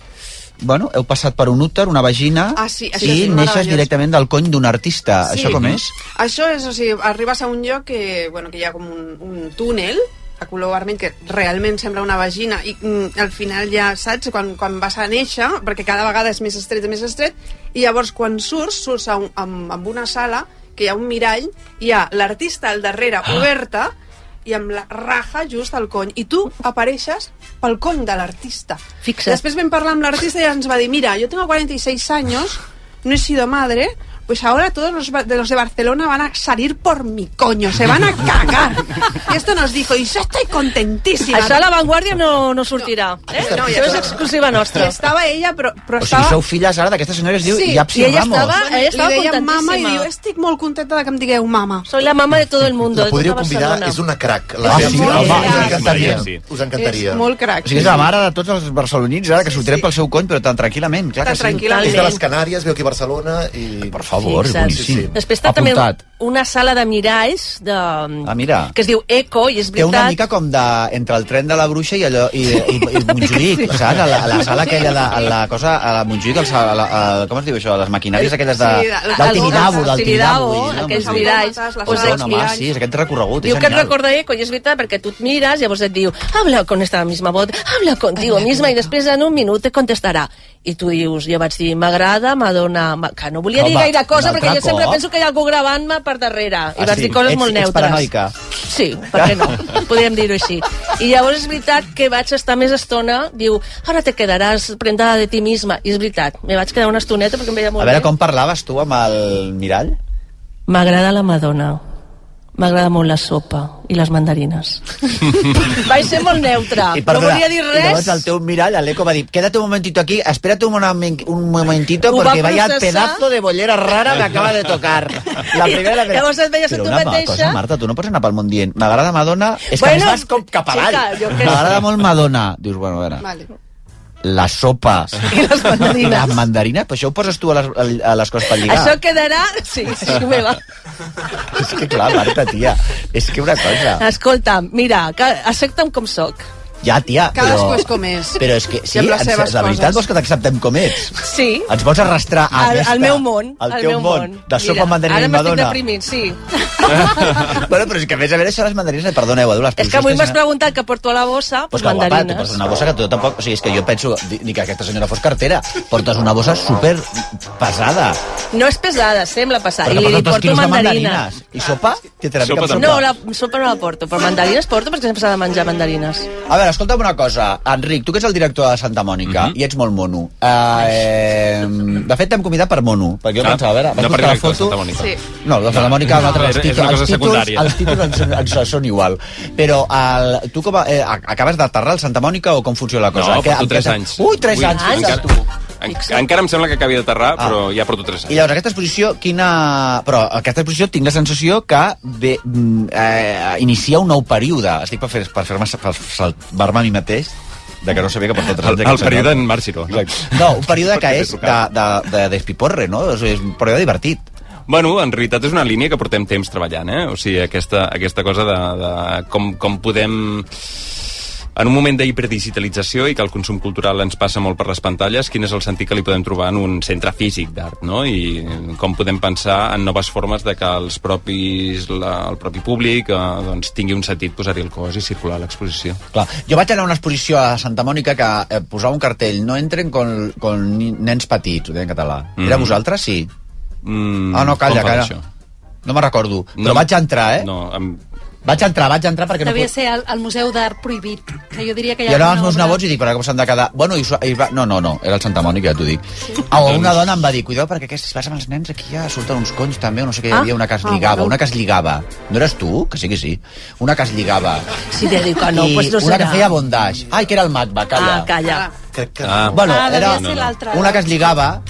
[SPEAKER 5] bueno, heu passat per un úter, una vagina,
[SPEAKER 7] Ah, sí, això
[SPEAKER 5] i
[SPEAKER 7] és
[SPEAKER 5] neixes
[SPEAKER 7] meravellós.
[SPEAKER 5] directament del cony d'un artista. Ah,
[SPEAKER 7] Sí.
[SPEAKER 5] Això com és?
[SPEAKER 7] Això és, o sigui, arribes a un lloc que, bueno, que hi ha com un, un túnel a color vermell que realment sembla una vagina i mm, al final ja saps quan, quan vas a néixer, perquè cada vegada és més estret i més estret, i llavors quan surts, surts a un, amb, amb una sala que hi ha un mirall, hi ha l'artista al darrere
[SPEAKER 6] Ah!
[SPEAKER 7] oberta i amb la raja just al cony i tu apareixes pel cony de l'artista
[SPEAKER 6] Fixa't.
[SPEAKER 7] després vam parlar amb l'artista i ens va dir mira, jo tengo 46 años no he sido madre, pues ahora todos los ba- de los de Barcelona van a salir por mi coño, se van a cagar. Y esto nos dijo, y yo estoy contentísima.
[SPEAKER 6] Això a l'avantguàrdia no, no sortirà. Eh?
[SPEAKER 7] No,
[SPEAKER 6] No,
[SPEAKER 7] ja
[SPEAKER 6] això és
[SPEAKER 7] està.
[SPEAKER 6] exclusiva
[SPEAKER 7] Y
[SPEAKER 6] nostra.
[SPEAKER 7] estaba ella, pero, pero
[SPEAKER 5] O sigui,
[SPEAKER 7] estaba...
[SPEAKER 5] sou filles ara d'aquesta senyora que es diu
[SPEAKER 7] Sí,
[SPEAKER 5] Iapsi
[SPEAKER 6] i ella
[SPEAKER 5] Ramos.
[SPEAKER 6] estava-
[SPEAKER 7] Bueno,
[SPEAKER 6] ella estava
[SPEAKER 7] li deia mama i
[SPEAKER 6] contentíssima.
[SPEAKER 7] diu, estic molt contenta de que em digueu mama.
[SPEAKER 6] Soy la mama de todo el mundo,
[SPEAKER 10] La
[SPEAKER 6] de tota
[SPEAKER 10] podríeu convidar,
[SPEAKER 6] Barcelona.
[SPEAKER 10] és una crac.
[SPEAKER 5] Ah,
[SPEAKER 10] La
[SPEAKER 5] sí?
[SPEAKER 10] Bea.
[SPEAKER 5] Home,
[SPEAKER 10] us
[SPEAKER 9] sí.
[SPEAKER 10] encantaria.
[SPEAKER 9] Sí.
[SPEAKER 10] Us encantaria.
[SPEAKER 7] És molt crac.
[SPEAKER 5] O sigui, és la mare de tots els barcelonins, ara, que
[SPEAKER 7] Sí,
[SPEAKER 5] sortirem
[SPEAKER 7] sí.
[SPEAKER 5] pel seu cony, però tan tranquil·lament, clar
[SPEAKER 7] Tan
[SPEAKER 5] que sí.
[SPEAKER 7] tranquil·lament.
[SPEAKER 10] És de les Canàries, veu aquí a Barcelona i...
[SPEAKER 5] Per favor,
[SPEAKER 6] Fixa't.
[SPEAKER 5] és boníssim.
[SPEAKER 10] Sí, sí.
[SPEAKER 6] Després està també
[SPEAKER 5] Apuntat. Ah,
[SPEAKER 6] una sala de miralls de...
[SPEAKER 5] A mirar.
[SPEAKER 6] que es diu Eco, i és
[SPEAKER 5] Té
[SPEAKER 6] veritat...
[SPEAKER 5] una mica com de, entre el tren de la bruixa i, allò, i, i, i Montjuïc, saps? A la, a la sala aquella, de, a la cosa, a la Montjuïc, al sa- a la, a, com es diu això? Les maquinàries aquelles de,
[SPEAKER 7] Sí, de-
[SPEAKER 5] del Tibidabo, del
[SPEAKER 6] del
[SPEAKER 5] Tibidabo.
[SPEAKER 6] Tibidabo, aquells
[SPEAKER 7] home. Les
[SPEAKER 6] miralls. Us
[SPEAKER 7] sales
[SPEAKER 5] Perdona, home,
[SPEAKER 6] expliquen.
[SPEAKER 5] sí, és aquest recorregut.
[SPEAKER 6] Diu
[SPEAKER 5] és
[SPEAKER 6] que et
[SPEAKER 5] genial.
[SPEAKER 6] recorda Eco, i és veritat, perquè tu et mires, llavors et diu, habla con esta misma voz, habla contigo misma, i després en un minut et contestarà. I tu dius, jo vaig dir, m'agrada, m'adona... ma- Que no volia dir
[SPEAKER 5] Home,
[SPEAKER 6] gaire cosa,
[SPEAKER 5] un
[SPEAKER 6] perquè
[SPEAKER 5] altre
[SPEAKER 6] jo sempre
[SPEAKER 5] cop.
[SPEAKER 6] penso que hi ha algú gravant-me per darrere. I
[SPEAKER 5] Ah,
[SPEAKER 6] vaig
[SPEAKER 5] sí?
[SPEAKER 6] dir coses
[SPEAKER 5] ets,
[SPEAKER 6] molt
[SPEAKER 5] ets
[SPEAKER 6] neutres.
[SPEAKER 5] paranoica.
[SPEAKER 6] Sí, per què no? Podríem dir-ho així. I llavors és veritat que vaig estar més estona, diu, ara te quedaràs prendada de ti misma. I és veritat, me vaig quedar una estoneta perquè em veia molt
[SPEAKER 5] A veure,
[SPEAKER 6] bé.
[SPEAKER 5] com parlaves tu amb el mirall?
[SPEAKER 6] M'agrada la Madonna, m'agrada molt la sopa i les mandarines. vaig ser molt neutra, no volia dir
[SPEAKER 5] I
[SPEAKER 6] res.
[SPEAKER 5] llavors el teu mirall, l'Eco va dir, quédate un momentito aquí, espérate un, momen- un momentito,
[SPEAKER 6] Ho va
[SPEAKER 5] porque vaya
[SPEAKER 6] processar.
[SPEAKER 5] pedazo de bollera rara que acaba de tocar. La primera vez.
[SPEAKER 6] Llavors et veies a
[SPEAKER 5] Però
[SPEAKER 6] tu
[SPEAKER 5] una
[SPEAKER 6] mateixa.
[SPEAKER 5] cosa, Marta, tu no pots anar pel món dient, m'agrada Madonna, és que
[SPEAKER 6] Bueno,
[SPEAKER 5] a més vas com cap avall.
[SPEAKER 6] chica, jo què sé.
[SPEAKER 5] M'agrada molt Madonna. Dius, bueno, a veure,
[SPEAKER 7] Vale.
[SPEAKER 5] la sopa.
[SPEAKER 6] I les mandarines.
[SPEAKER 5] Les mandarines, però això ho poses tu a les, a les coses per lligar. Ah.
[SPEAKER 6] Això quedarà... Sí, sí, meva.
[SPEAKER 5] És que clar, Marta, tia, és que una cosa...
[SPEAKER 6] Escolta'm, mira, que accepta'm com sóc.
[SPEAKER 5] Ja, tia,
[SPEAKER 6] Cadascú
[SPEAKER 5] però...
[SPEAKER 6] és com és.
[SPEAKER 5] Però és que, sí,
[SPEAKER 6] I amb les
[SPEAKER 5] ens,
[SPEAKER 6] seves
[SPEAKER 5] la veritat
[SPEAKER 6] coses.
[SPEAKER 5] vols que t'acceptem com ets?
[SPEAKER 6] Sí.
[SPEAKER 5] Ens vols arrastrar a
[SPEAKER 6] Al,
[SPEAKER 5] aquesta,
[SPEAKER 6] al meu món.
[SPEAKER 5] Al teu
[SPEAKER 6] meu
[SPEAKER 5] món, De sopa amb mandarina
[SPEAKER 6] ara
[SPEAKER 5] i
[SPEAKER 6] m'estic
[SPEAKER 5] Madonna.
[SPEAKER 6] deprimint, sí.
[SPEAKER 5] bueno, però és que a més a veure això les mandarines, perdoneu, Edu, les
[SPEAKER 6] És que avui m'has preguntat que porto a la bossa
[SPEAKER 5] Pues
[SPEAKER 6] pues
[SPEAKER 5] que guapa, tu
[SPEAKER 6] mandarines.
[SPEAKER 5] portes una bossa que tu tampoc... O sigui, és que jo penso di- ni que aquesta senyora fos cartera. Portes una bossa super pesada.
[SPEAKER 6] No és pesada, sembla pesada.
[SPEAKER 5] Però
[SPEAKER 6] I
[SPEAKER 5] que
[SPEAKER 6] li
[SPEAKER 5] portes dos
[SPEAKER 6] porto
[SPEAKER 5] quilos de
[SPEAKER 6] mandarines.
[SPEAKER 5] mandarines. I sopa? Què té una mica amb sopa?
[SPEAKER 6] No, la sopa no la porto, però mandarines porto perquè sempre s'ha de menjar mandarines.
[SPEAKER 5] A veure, escolta'm una cosa. Enric, tu que ets el director de Santa Mònica
[SPEAKER 9] Mhm.
[SPEAKER 5] i ets molt mono. Eh, de fet, t'hem convidat per mono. Perquè jo
[SPEAKER 9] Ah,
[SPEAKER 5] pensava, a veure, vas
[SPEAKER 9] no per
[SPEAKER 5] buscar la
[SPEAKER 9] director de
[SPEAKER 5] foto...
[SPEAKER 9] Santa Mònica. Sí.
[SPEAKER 5] No, de Santa Mònica,
[SPEAKER 9] No,
[SPEAKER 5] nosaltres, els
[SPEAKER 9] és- és
[SPEAKER 5] títols,
[SPEAKER 9] una cosa
[SPEAKER 5] els títols,
[SPEAKER 9] secundària.
[SPEAKER 5] els títols ens, ens, són igual. Però el, tu com, a- eh, ac- acabes d'aterrar al Santa Mònica o com funciona la cosa?
[SPEAKER 9] No,
[SPEAKER 5] Que-
[SPEAKER 9] porto
[SPEAKER 5] amb
[SPEAKER 9] 3
[SPEAKER 5] què-
[SPEAKER 9] anys.
[SPEAKER 5] Ui, 3 anys! fixa't tu.
[SPEAKER 9] Encara, en, encara em sembla que acabi d'aterrar, ah. però ja porto 3
[SPEAKER 5] I
[SPEAKER 9] anys.
[SPEAKER 5] llavors, aquesta exposició, quina... Però aquesta exposició tinc la sensació que ve, mm, eh, inicia un nou període. Estic per fer-me per fer per salvar-me a mi mateix de que no sabia que porta tres
[SPEAKER 9] El-
[SPEAKER 5] anys...
[SPEAKER 9] el
[SPEAKER 5] aquest
[SPEAKER 9] període
[SPEAKER 5] senyor.
[SPEAKER 9] en Marciro, no?
[SPEAKER 5] Exacte. No, un període que
[SPEAKER 9] Perquè
[SPEAKER 5] és
[SPEAKER 9] t'he
[SPEAKER 5] de,
[SPEAKER 9] trucat.
[SPEAKER 5] de, de despiporre, no? És, és un període divertit.
[SPEAKER 9] Bueno, en realitat és una línia que portem temps treballant, eh? O sigui, aquesta, aquesta cosa de, de com, com podem en un moment d'hiperdigitalització i que el consum cultural ens passa molt per les pantalles, quin és el sentit que li podem trobar en un centre físic d'art, no? I com podem pensar en noves formes de que els propis, la, el propi públic eh, doncs, tingui un sentit posar-hi el cos i circular a l'exposició.
[SPEAKER 5] Clar. Jo vaig anar a una exposició a Santa Mònica que eh, posava un cartell no entren con, con ni- nens petits, ho deia en català. Mm. Era
[SPEAKER 9] Mhm.
[SPEAKER 5] vosaltres? Sí.
[SPEAKER 9] Mm,
[SPEAKER 5] Ah, no, calla,
[SPEAKER 9] com fan
[SPEAKER 5] calla.
[SPEAKER 9] això?
[SPEAKER 5] No me'n recordo. Però
[SPEAKER 9] No.
[SPEAKER 5] vaig entrar, eh?
[SPEAKER 9] No, amb...
[SPEAKER 5] Vaig entrar, vaig entrar perquè no
[SPEAKER 11] Devia
[SPEAKER 5] podia...
[SPEAKER 11] ser el, el Museu d'Art Prohibit, que jo diria que
[SPEAKER 5] I
[SPEAKER 11] hi ha
[SPEAKER 5] ara els
[SPEAKER 11] alguna
[SPEAKER 5] meus
[SPEAKER 11] obra-
[SPEAKER 5] nebots i dic, però com s'han de quedar... Bueno, i, su- i va... No, no, no, era el Santa Mònica, ja t'ho dic. O una dona em va dir, cuideu, perquè aquests, si vas amb els nens aquí ja surten uns conys també, o no sé què, hi
[SPEAKER 6] Ah,
[SPEAKER 5] havia una que es lligava, una que es lligava. No eres tu? Que sí que sí. Una que es lligava.
[SPEAKER 6] Si te dic que no,
[SPEAKER 5] I
[SPEAKER 6] pues no
[SPEAKER 5] una
[SPEAKER 6] serà.
[SPEAKER 5] que feia bondage. Ai, que era el Magba, calla.
[SPEAKER 6] Ah, calla.
[SPEAKER 5] Crec que...
[SPEAKER 9] Ah.
[SPEAKER 5] bueno,
[SPEAKER 6] Ah,
[SPEAKER 5] era
[SPEAKER 6] devia ser l'altra.
[SPEAKER 5] una que es lligava,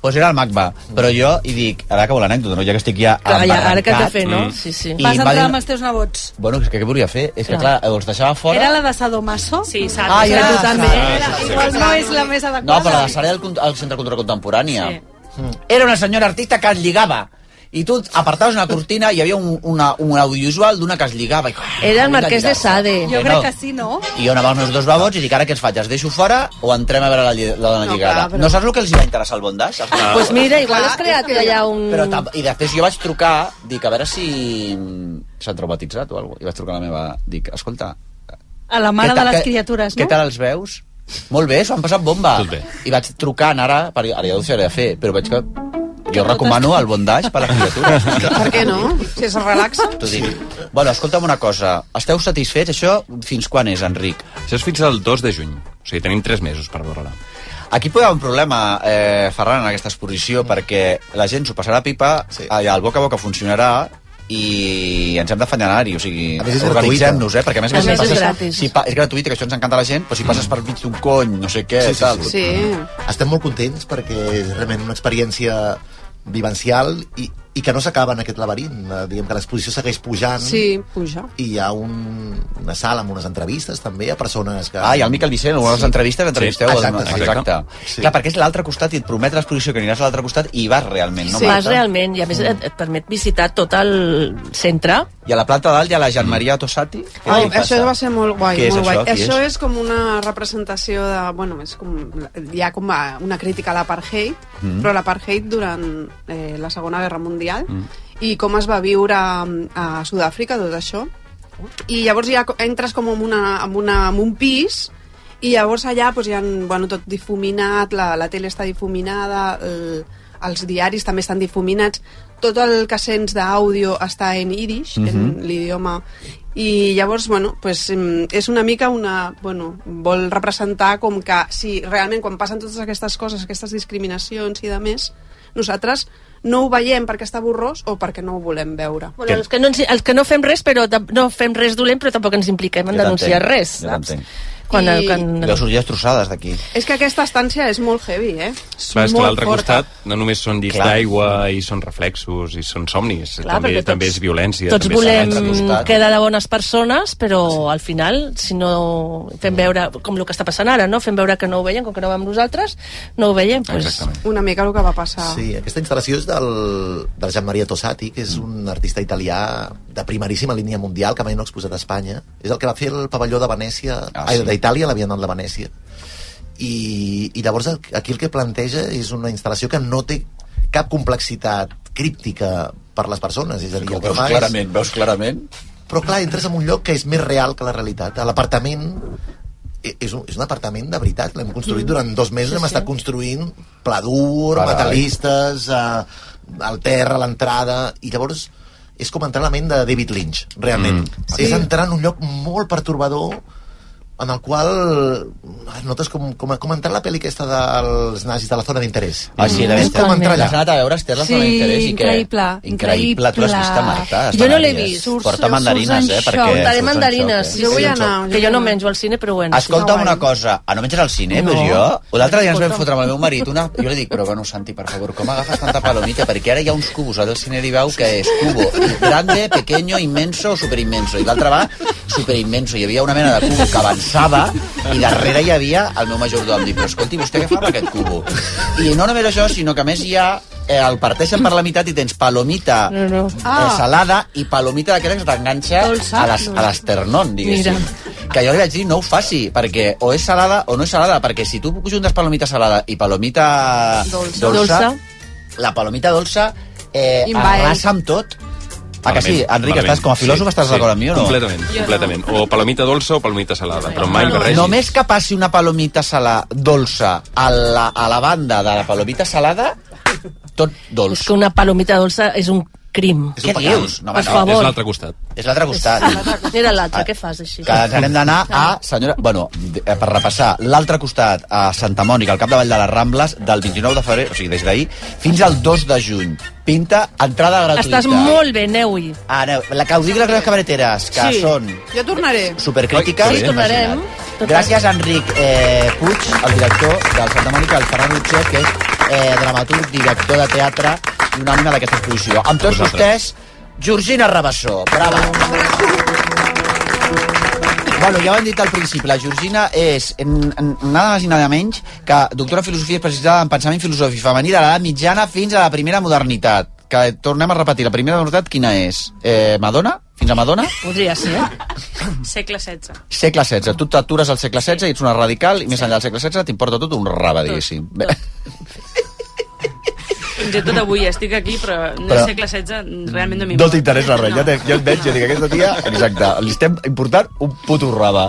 [SPEAKER 5] doncs era el Magba. Però jo hi dic, ara acabo l'anècdota, no? ja que estic ja
[SPEAKER 11] Ah,
[SPEAKER 6] Clar, ja, ara que has de fer, no?
[SPEAKER 5] embarrancat.
[SPEAKER 6] Sí, sí.
[SPEAKER 5] Mm. I
[SPEAKER 11] Vas
[SPEAKER 5] va
[SPEAKER 11] entrar
[SPEAKER 5] dir-
[SPEAKER 11] amb els teus nebots.
[SPEAKER 5] Bueno, és que què volia fer? És que, clar,
[SPEAKER 11] Clar.
[SPEAKER 5] els deixava fora...
[SPEAKER 11] Era la de Sadomaso? Sí,
[SPEAKER 5] Ah, ja,
[SPEAKER 11] tu
[SPEAKER 5] sí,
[SPEAKER 11] també.
[SPEAKER 5] sí,
[SPEAKER 11] Era-
[SPEAKER 5] sí, sí.
[SPEAKER 11] Igual no és la més adequada.
[SPEAKER 5] No, però la Sara del al Centre de Cultura Contemporània. Sí. Era una senyora artista que es lligava. I tu apartaves una cortina i hi havia un, una, un audiovisual d'una que es lligava. I, ah,
[SPEAKER 6] Era el marquès de Sade.
[SPEAKER 11] Jo crec que sí, no?
[SPEAKER 5] I jo anava als meus dos babots i dic, ara què els faig? Els deixo fora o entrem a veure la, lli- la dona
[SPEAKER 6] No,
[SPEAKER 5] lligada?
[SPEAKER 6] clar,
[SPEAKER 5] No,
[SPEAKER 6] però-
[SPEAKER 5] no saps el que els va interessar el bondage? Els
[SPEAKER 6] Doncs
[SPEAKER 5] meus
[SPEAKER 6] pues
[SPEAKER 5] babots?
[SPEAKER 6] mira, igual
[SPEAKER 7] Clar,
[SPEAKER 6] has
[SPEAKER 7] és
[SPEAKER 6] creat
[SPEAKER 7] que-
[SPEAKER 6] allà un...
[SPEAKER 5] Però tam- I després jo vaig trucar, dic, a veure si s'ha traumatitzat o alguna cosa. I vaig trucar a la meva, dic, escolta...
[SPEAKER 11] A la mare
[SPEAKER 5] què tal-
[SPEAKER 11] de les
[SPEAKER 5] què-
[SPEAKER 11] criatures,
[SPEAKER 5] Què
[SPEAKER 11] no?
[SPEAKER 5] tal els veus? Molt bé, s'ho han passat bomba.
[SPEAKER 9] Tot bé.
[SPEAKER 5] I vaig trucant ara, per, ara ja ho sé de fer, però veig que jo recomano el bondage per a les criatures.
[SPEAKER 7] Per què no? Si es relaxa.
[SPEAKER 5] T'ho dic. Bueno, escolta'm una cosa. Esteu satisfets? Això fins quan és, Enric?
[SPEAKER 9] Això és fins al 2 de juny. O sigui, tenim 3 mesos per veure-la.
[SPEAKER 5] Aquí pot haver un problema, eh, Ferran, en aquesta exposició, perquè la gent s'ho passarà pipa, sí. el boca a boca funcionarà, i ens hem d'afanyarar-hi, o sigui,
[SPEAKER 10] A més, és
[SPEAKER 5] organitzem-nos, eh? Perquè a més,
[SPEAKER 6] A
[SPEAKER 5] que si
[SPEAKER 6] més, és
[SPEAKER 5] passes,
[SPEAKER 6] gratis.
[SPEAKER 5] Si pa, és gratuït, que això ens encanta a la gent, però si passes per mig d'un cony, no sé què,
[SPEAKER 10] Sí, sí,
[SPEAKER 5] tal...
[SPEAKER 10] sí.
[SPEAKER 7] Sí.
[SPEAKER 10] Estem molt contents perquè és realment una experiència vivencial i, i que no s'acaba en aquest laberint. Eh, Diguem que l'exposició segueix pujant
[SPEAKER 7] Sí, puja.
[SPEAKER 10] i hi ha un, una sala amb unes entrevistes també a persones que...
[SPEAKER 5] Ah, i el Miquel Vicent, en una de les entrevistes entrevisteu... doncs,
[SPEAKER 10] Sí,
[SPEAKER 5] el-
[SPEAKER 10] exacte, sí.
[SPEAKER 5] Sí. Clar, perquè és l'altre costat i et promet l'exposició que aniràs a l'altre costat i hi vas realment, no,
[SPEAKER 6] Sí. Vas
[SPEAKER 5] Marta?
[SPEAKER 6] realment, i a més et, et permet visitar tot el centre.
[SPEAKER 5] I a la planta dalt hi ha la Jean Maria Tossati. Què
[SPEAKER 7] Ai,
[SPEAKER 5] li passa?
[SPEAKER 7] això va ser molt guai,
[SPEAKER 5] Què és
[SPEAKER 7] molt
[SPEAKER 5] això?
[SPEAKER 7] guai.
[SPEAKER 5] Qui
[SPEAKER 7] Això
[SPEAKER 5] és?
[SPEAKER 7] és? com una representació de... Bueno, és com, hi ha com a- una crítica a l'apartheid,
[SPEAKER 5] Mm. Mm.
[SPEAKER 7] mm. però l'apartheid durant eh, la Segona Guerra Mundial i com es va viure mm, a Sud-àfrica, tot això. I llavors ja co- entres com en, una, en, una, en un pis i llavors allà doncs, hi ha bueno, tot difuminat, la, la tele està difuminada, el, els diaris també estan difuminats, tot el que sents d'àudio està en irish, uh -huh. en
[SPEAKER 5] Mhm.
[SPEAKER 7] l'idioma... i llavors, bueno, pues, mm, és una mica una... Bueno, vol representar com que si realment quan passen totes aquestes coses, aquestes discriminacions i de més, nosaltres no ho veiem perquè està borrós o perquè no ho volem veure.
[SPEAKER 6] Bueno, els, que no ens, els que no fem res, però tam- no fem res dolent, però tampoc ens impliquem en denunciar res.
[SPEAKER 5] Jo
[SPEAKER 6] saps?
[SPEAKER 5] t'entenc.
[SPEAKER 6] Quan,
[SPEAKER 7] I-
[SPEAKER 6] quan...
[SPEAKER 5] Deus sortir destrossades d'aquí.
[SPEAKER 7] És que aquesta estància és molt heavy, eh?
[SPEAKER 9] Clar, és
[SPEAKER 7] Molt
[SPEAKER 9] que a l'altre
[SPEAKER 7] forta.
[SPEAKER 9] costat no només són llits d'aigua i són reflexos i són somnis,
[SPEAKER 6] Clar,
[SPEAKER 9] també,
[SPEAKER 6] perquè tots-
[SPEAKER 9] també és violència.
[SPEAKER 6] Tots
[SPEAKER 9] també doncs, és
[SPEAKER 6] volem
[SPEAKER 9] l'altre costat.
[SPEAKER 6] quedar de bones persones, però al final, si no
[SPEAKER 5] Mm.
[SPEAKER 6] fem veure, com el que està passant ara, no? fem veure que no ho veiem, com que no vam nosaltres, no ho veiem. Doncs...
[SPEAKER 7] Una mica el que va
[SPEAKER 6] Ah.
[SPEAKER 7] passar.
[SPEAKER 10] Sí, aquesta instal·lació és del, del Gian Maria Tossati, que és un artista italià de primeríssima línia mundial que mai no ha exposat a Espanya. És el que va fer el pavelló de Venècia, ah,
[SPEAKER 5] sí.
[SPEAKER 10] sí. d'Itàlia, la Bienal de Venècia. I, I llavors el- aquí el que planteja és una instal·lació que no té cap complexitat críptica per les persones. És a dir, el que
[SPEAKER 5] Veus
[SPEAKER 10] fa és...
[SPEAKER 5] clarament, veus clarament.
[SPEAKER 10] Però clar, entres en un lloc que és més real que la realitat. L'apartament e- és un, és un apartament de veritat, l'hem construït
[SPEAKER 5] Mm.
[SPEAKER 10] durant dos mesos, sí,
[SPEAKER 5] Sí,
[SPEAKER 10] hem
[SPEAKER 5] sí.
[SPEAKER 10] estat construint pla dur,
[SPEAKER 5] Carai.
[SPEAKER 10] metalistes, eh, el terra, l'entrada, i llavors és com entrar a la ment de David Lynch, realment.
[SPEAKER 5] Mm.
[SPEAKER 10] Mm.
[SPEAKER 5] Sí.
[SPEAKER 10] Sí. És entrar en un lloc molt pertorbador en el qual eh, notes com, com, com entrar a la pel·li aquesta dels nazis de la zona d'interès.
[SPEAKER 5] Ah, sí,
[SPEAKER 10] és com entrar allà.
[SPEAKER 5] Has anat a veure Esther la
[SPEAKER 10] Sí,
[SPEAKER 5] zona d'interès i què?
[SPEAKER 10] increïble,
[SPEAKER 5] Increïble. Tu l'has
[SPEAKER 10] increïble.
[SPEAKER 5] vist a Marta.
[SPEAKER 10] Jo no l'he
[SPEAKER 5] Mandarines.
[SPEAKER 10] vist. Surts-
[SPEAKER 5] Porta
[SPEAKER 10] surts
[SPEAKER 5] mandarines,
[SPEAKER 10] en
[SPEAKER 5] eh?
[SPEAKER 10] xoc.
[SPEAKER 5] Perquè
[SPEAKER 10] Portaré
[SPEAKER 5] surts en
[SPEAKER 6] mandarines.
[SPEAKER 5] xoc, eh?
[SPEAKER 6] Jo
[SPEAKER 5] Sí,
[SPEAKER 6] vull
[SPEAKER 5] en
[SPEAKER 6] anar,
[SPEAKER 5] xoc.
[SPEAKER 6] que jo no menjo al cine, però bueno.
[SPEAKER 5] Escolta'm una cosa, ah, no menges al cine,
[SPEAKER 6] No.
[SPEAKER 5] no. pues jo? L'altre dia ens vam
[SPEAKER 6] Escolta'm.
[SPEAKER 5] fotre amb el meu marit una... Jo li dic, però bueno, Santi, per favor, com agafes tanta palomita? Perquè ara hi ha uns cubos al del cine d'Ibau que és cubo grande, pequeño, inmenso, superinmenso. I l'altre va superinmenso. Hi havia una mena de cubo que avançava i darrere hi havia el meu majordom. Dic, però escolti, vostè què fa amb aquest cubo? I no només això, sinó que a més hi ha eh, el parteixen per la meitat i tens palomita
[SPEAKER 6] No, no.
[SPEAKER 5] ah. salada i palomita d'aquelles que t'enganxa a, les, a l'esternón, diguéssim. Que jo li vaig dir, no ho faci, perquè o és salada o no és salada, perquè si tu juntes palomita salada i palomita dolça,
[SPEAKER 6] Dolça.
[SPEAKER 5] la palomita dolça eh,
[SPEAKER 6] Invaeix.
[SPEAKER 5] arrasa amb tot. Ah, que sí,
[SPEAKER 9] Malament,
[SPEAKER 5] Enric,
[SPEAKER 9] malament.
[SPEAKER 5] estàs com a filòsof,
[SPEAKER 9] Sí,
[SPEAKER 5] estàs
[SPEAKER 9] sí,
[SPEAKER 5] d'acord amb mi o no?
[SPEAKER 9] Completament,
[SPEAKER 5] Jo no.
[SPEAKER 9] completament. O palomita dolça o palomita salada, però mai barregi.
[SPEAKER 5] Només que passi una palomita salada dolça a la, a la banda de la palomita salada, tot dolç.
[SPEAKER 6] És que una palomita dolça és un crim.
[SPEAKER 5] Què dius?
[SPEAKER 6] No, per favor.
[SPEAKER 9] costat.
[SPEAKER 5] És l'altre costat.
[SPEAKER 6] Era l'altre, què fas així?
[SPEAKER 5] que ens n'hem d'anar a senyora... Bueno, d- eh, per repassar, l'altre costat, a Santa Mònica, al capdavall de les Rambles, del 29 de febrer, o sigui, des d'ahir, fins al 2 de juny. Pinta, entrada gratuïta.
[SPEAKER 6] Estàs molt bé, aneu-hi.
[SPEAKER 5] Ara, la que ho digui les greus cabareteres, que
[SPEAKER 6] Sí.
[SPEAKER 5] són
[SPEAKER 7] Jo tornaré.
[SPEAKER 5] supercrítiques.
[SPEAKER 6] Sí, tornarem.
[SPEAKER 5] Gràcies, Enric eh, Puig, el director del Santa Mònica, el Ferran Utxer, que és eh, dramaturg, director de teatre i una ànima d'aquesta exposició. Amb tots
[SPEAKER 13] Vosaltres.
[SPEAKER 5] vostès, Georgina Rabassó. Brava. Bueno, ja ho hem dit al principi, la Georgina és n- n- nada més i nada menys que doctora en filosofia especialitzada en pensament filosòfic femení de l'edat mitjana fins a la primera modernitat. Que tornem a repetir, la primera modernitat quina és? Eh, Madonna? Fins a Madonna?
[SPEAKER 6] Podria ser.
[SPEAKER 14] Segle XVI.
[SPEAKER 5] Segle XVI. Tu t'atures al segle XVI i ets una radical i més enllà del segle XVI t'importa tot un raba, diguéssim. Bé,
[SPEAKER 14] Fins i tot avui estic aquí, però, no
[SPEAKER 5] Però-
[SPEAKER 14] però... segle XVI realment no
[SPEAKER 5] no
[SPEAKER 14] m'importa.
[SPEAKER 5] t'interessa res, ja, te, ja et veig, jo dic, aquesta tia, exacte, li estem important un puto raba.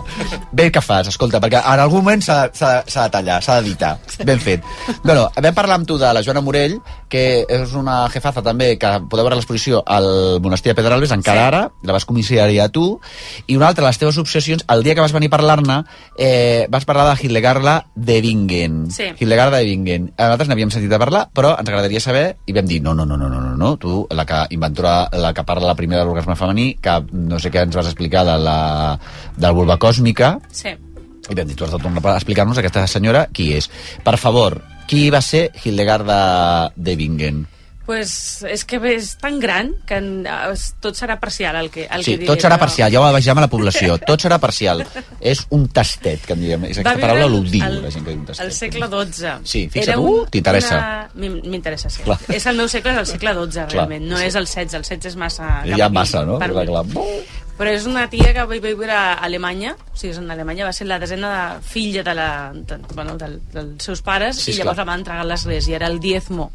[SPEAKER 5] Bé, què fas? Escolta, perquè en algun moment s'ha de- s'ha de s'ha de tallar, s'ha d'editar. Ben fet. Bueno, vam parlar amb tu de la Joana Morell, que és una jefaza també, que podeu veure l'exposició al monestir de Pedralbes, encara sí. ara, la vas comissariar tu, i una altra de les teves obsessions, el dia que vas venir a parlar-ne, eh, vas parlar de Hildegard de Bingen.
[SPEAKER 14] Sí.
[SPEAKER 5] Hildegard de Bingen. A Nosaltres n'havíem sentit a parlar, però ens agradaria saber, i vam dir, no, no, no, no, no, no, no, tu, la que inventora, la que parla la primera de l'orgasme femení, que no sé què ens vas explicar de la, del vulva còsmica,
[SPEAKER 14] Sí.
[SPEAKER 5] i vam dir, tu has de tornar a explicar-nos aquesta senyora qui és. Per favor, qui va ser Hildegard de, de Bingen?
[SPEAKER 14] Pues és que bé, és tan gran que en- es- tot serà parcial el que, el
[SPEAKER 5] sí,
[SPEAKER 14] que diré.
[SPEAKER 5] tot serà
[SPEAKER 14] però-
[SPEAKER 5] parcial, ja ho vegem a la població, tot serà parcial. És un tastet, que en diem. És
[SPEAKER 14] Va
[SPEAKER 5] aquesta
[SPEAKER 14] viure
[SPEAKER 5] paraula l'obdiu,
[SPEAKER 14] al-
[SPEAKER 5] la gent que diu un tastet.
[SPEAKER 14] Al segle XII.
[SPEAKER 5] Sí, fixa't,
[SPEAKER 14] Era
[SPEAKER 5] uh,
[SPEAKER 14] un-
[SPEAKER 5] t'interessa.
[SPEAKER 14] una- m'in- M'interessa, sí.
[SPEAKER 5] Clar.
[SPEAKER 14] És el meu segle, és el segle XII, realment. no
[SPEAKER 5] sí.
[SPEAKER 14] és el XVI, el XVI és massa... cap
[SPEAKER 5] Hi ha
[SPEAKER 14] aquí,
[SPEAKER 5] massa, no?
[SPEAKER 14] per
[SPEAKER 5] Clar,
[SPEAKER 14] mi.
[SPEAKER 5] clar.
[SPEAKER 14] Però és una tia que va viure a Alemanya, o sigui, és en Alemanya, va ser la desena de filla de la, de, bueno, del, dels seus pares,
[SPEAKER 5] Sí,
[SPEAKER 14] sí, i llavors
[SPEAKER 5] esclar.
[SPEAKER 14] la van entregar a l'església, era el diezmo.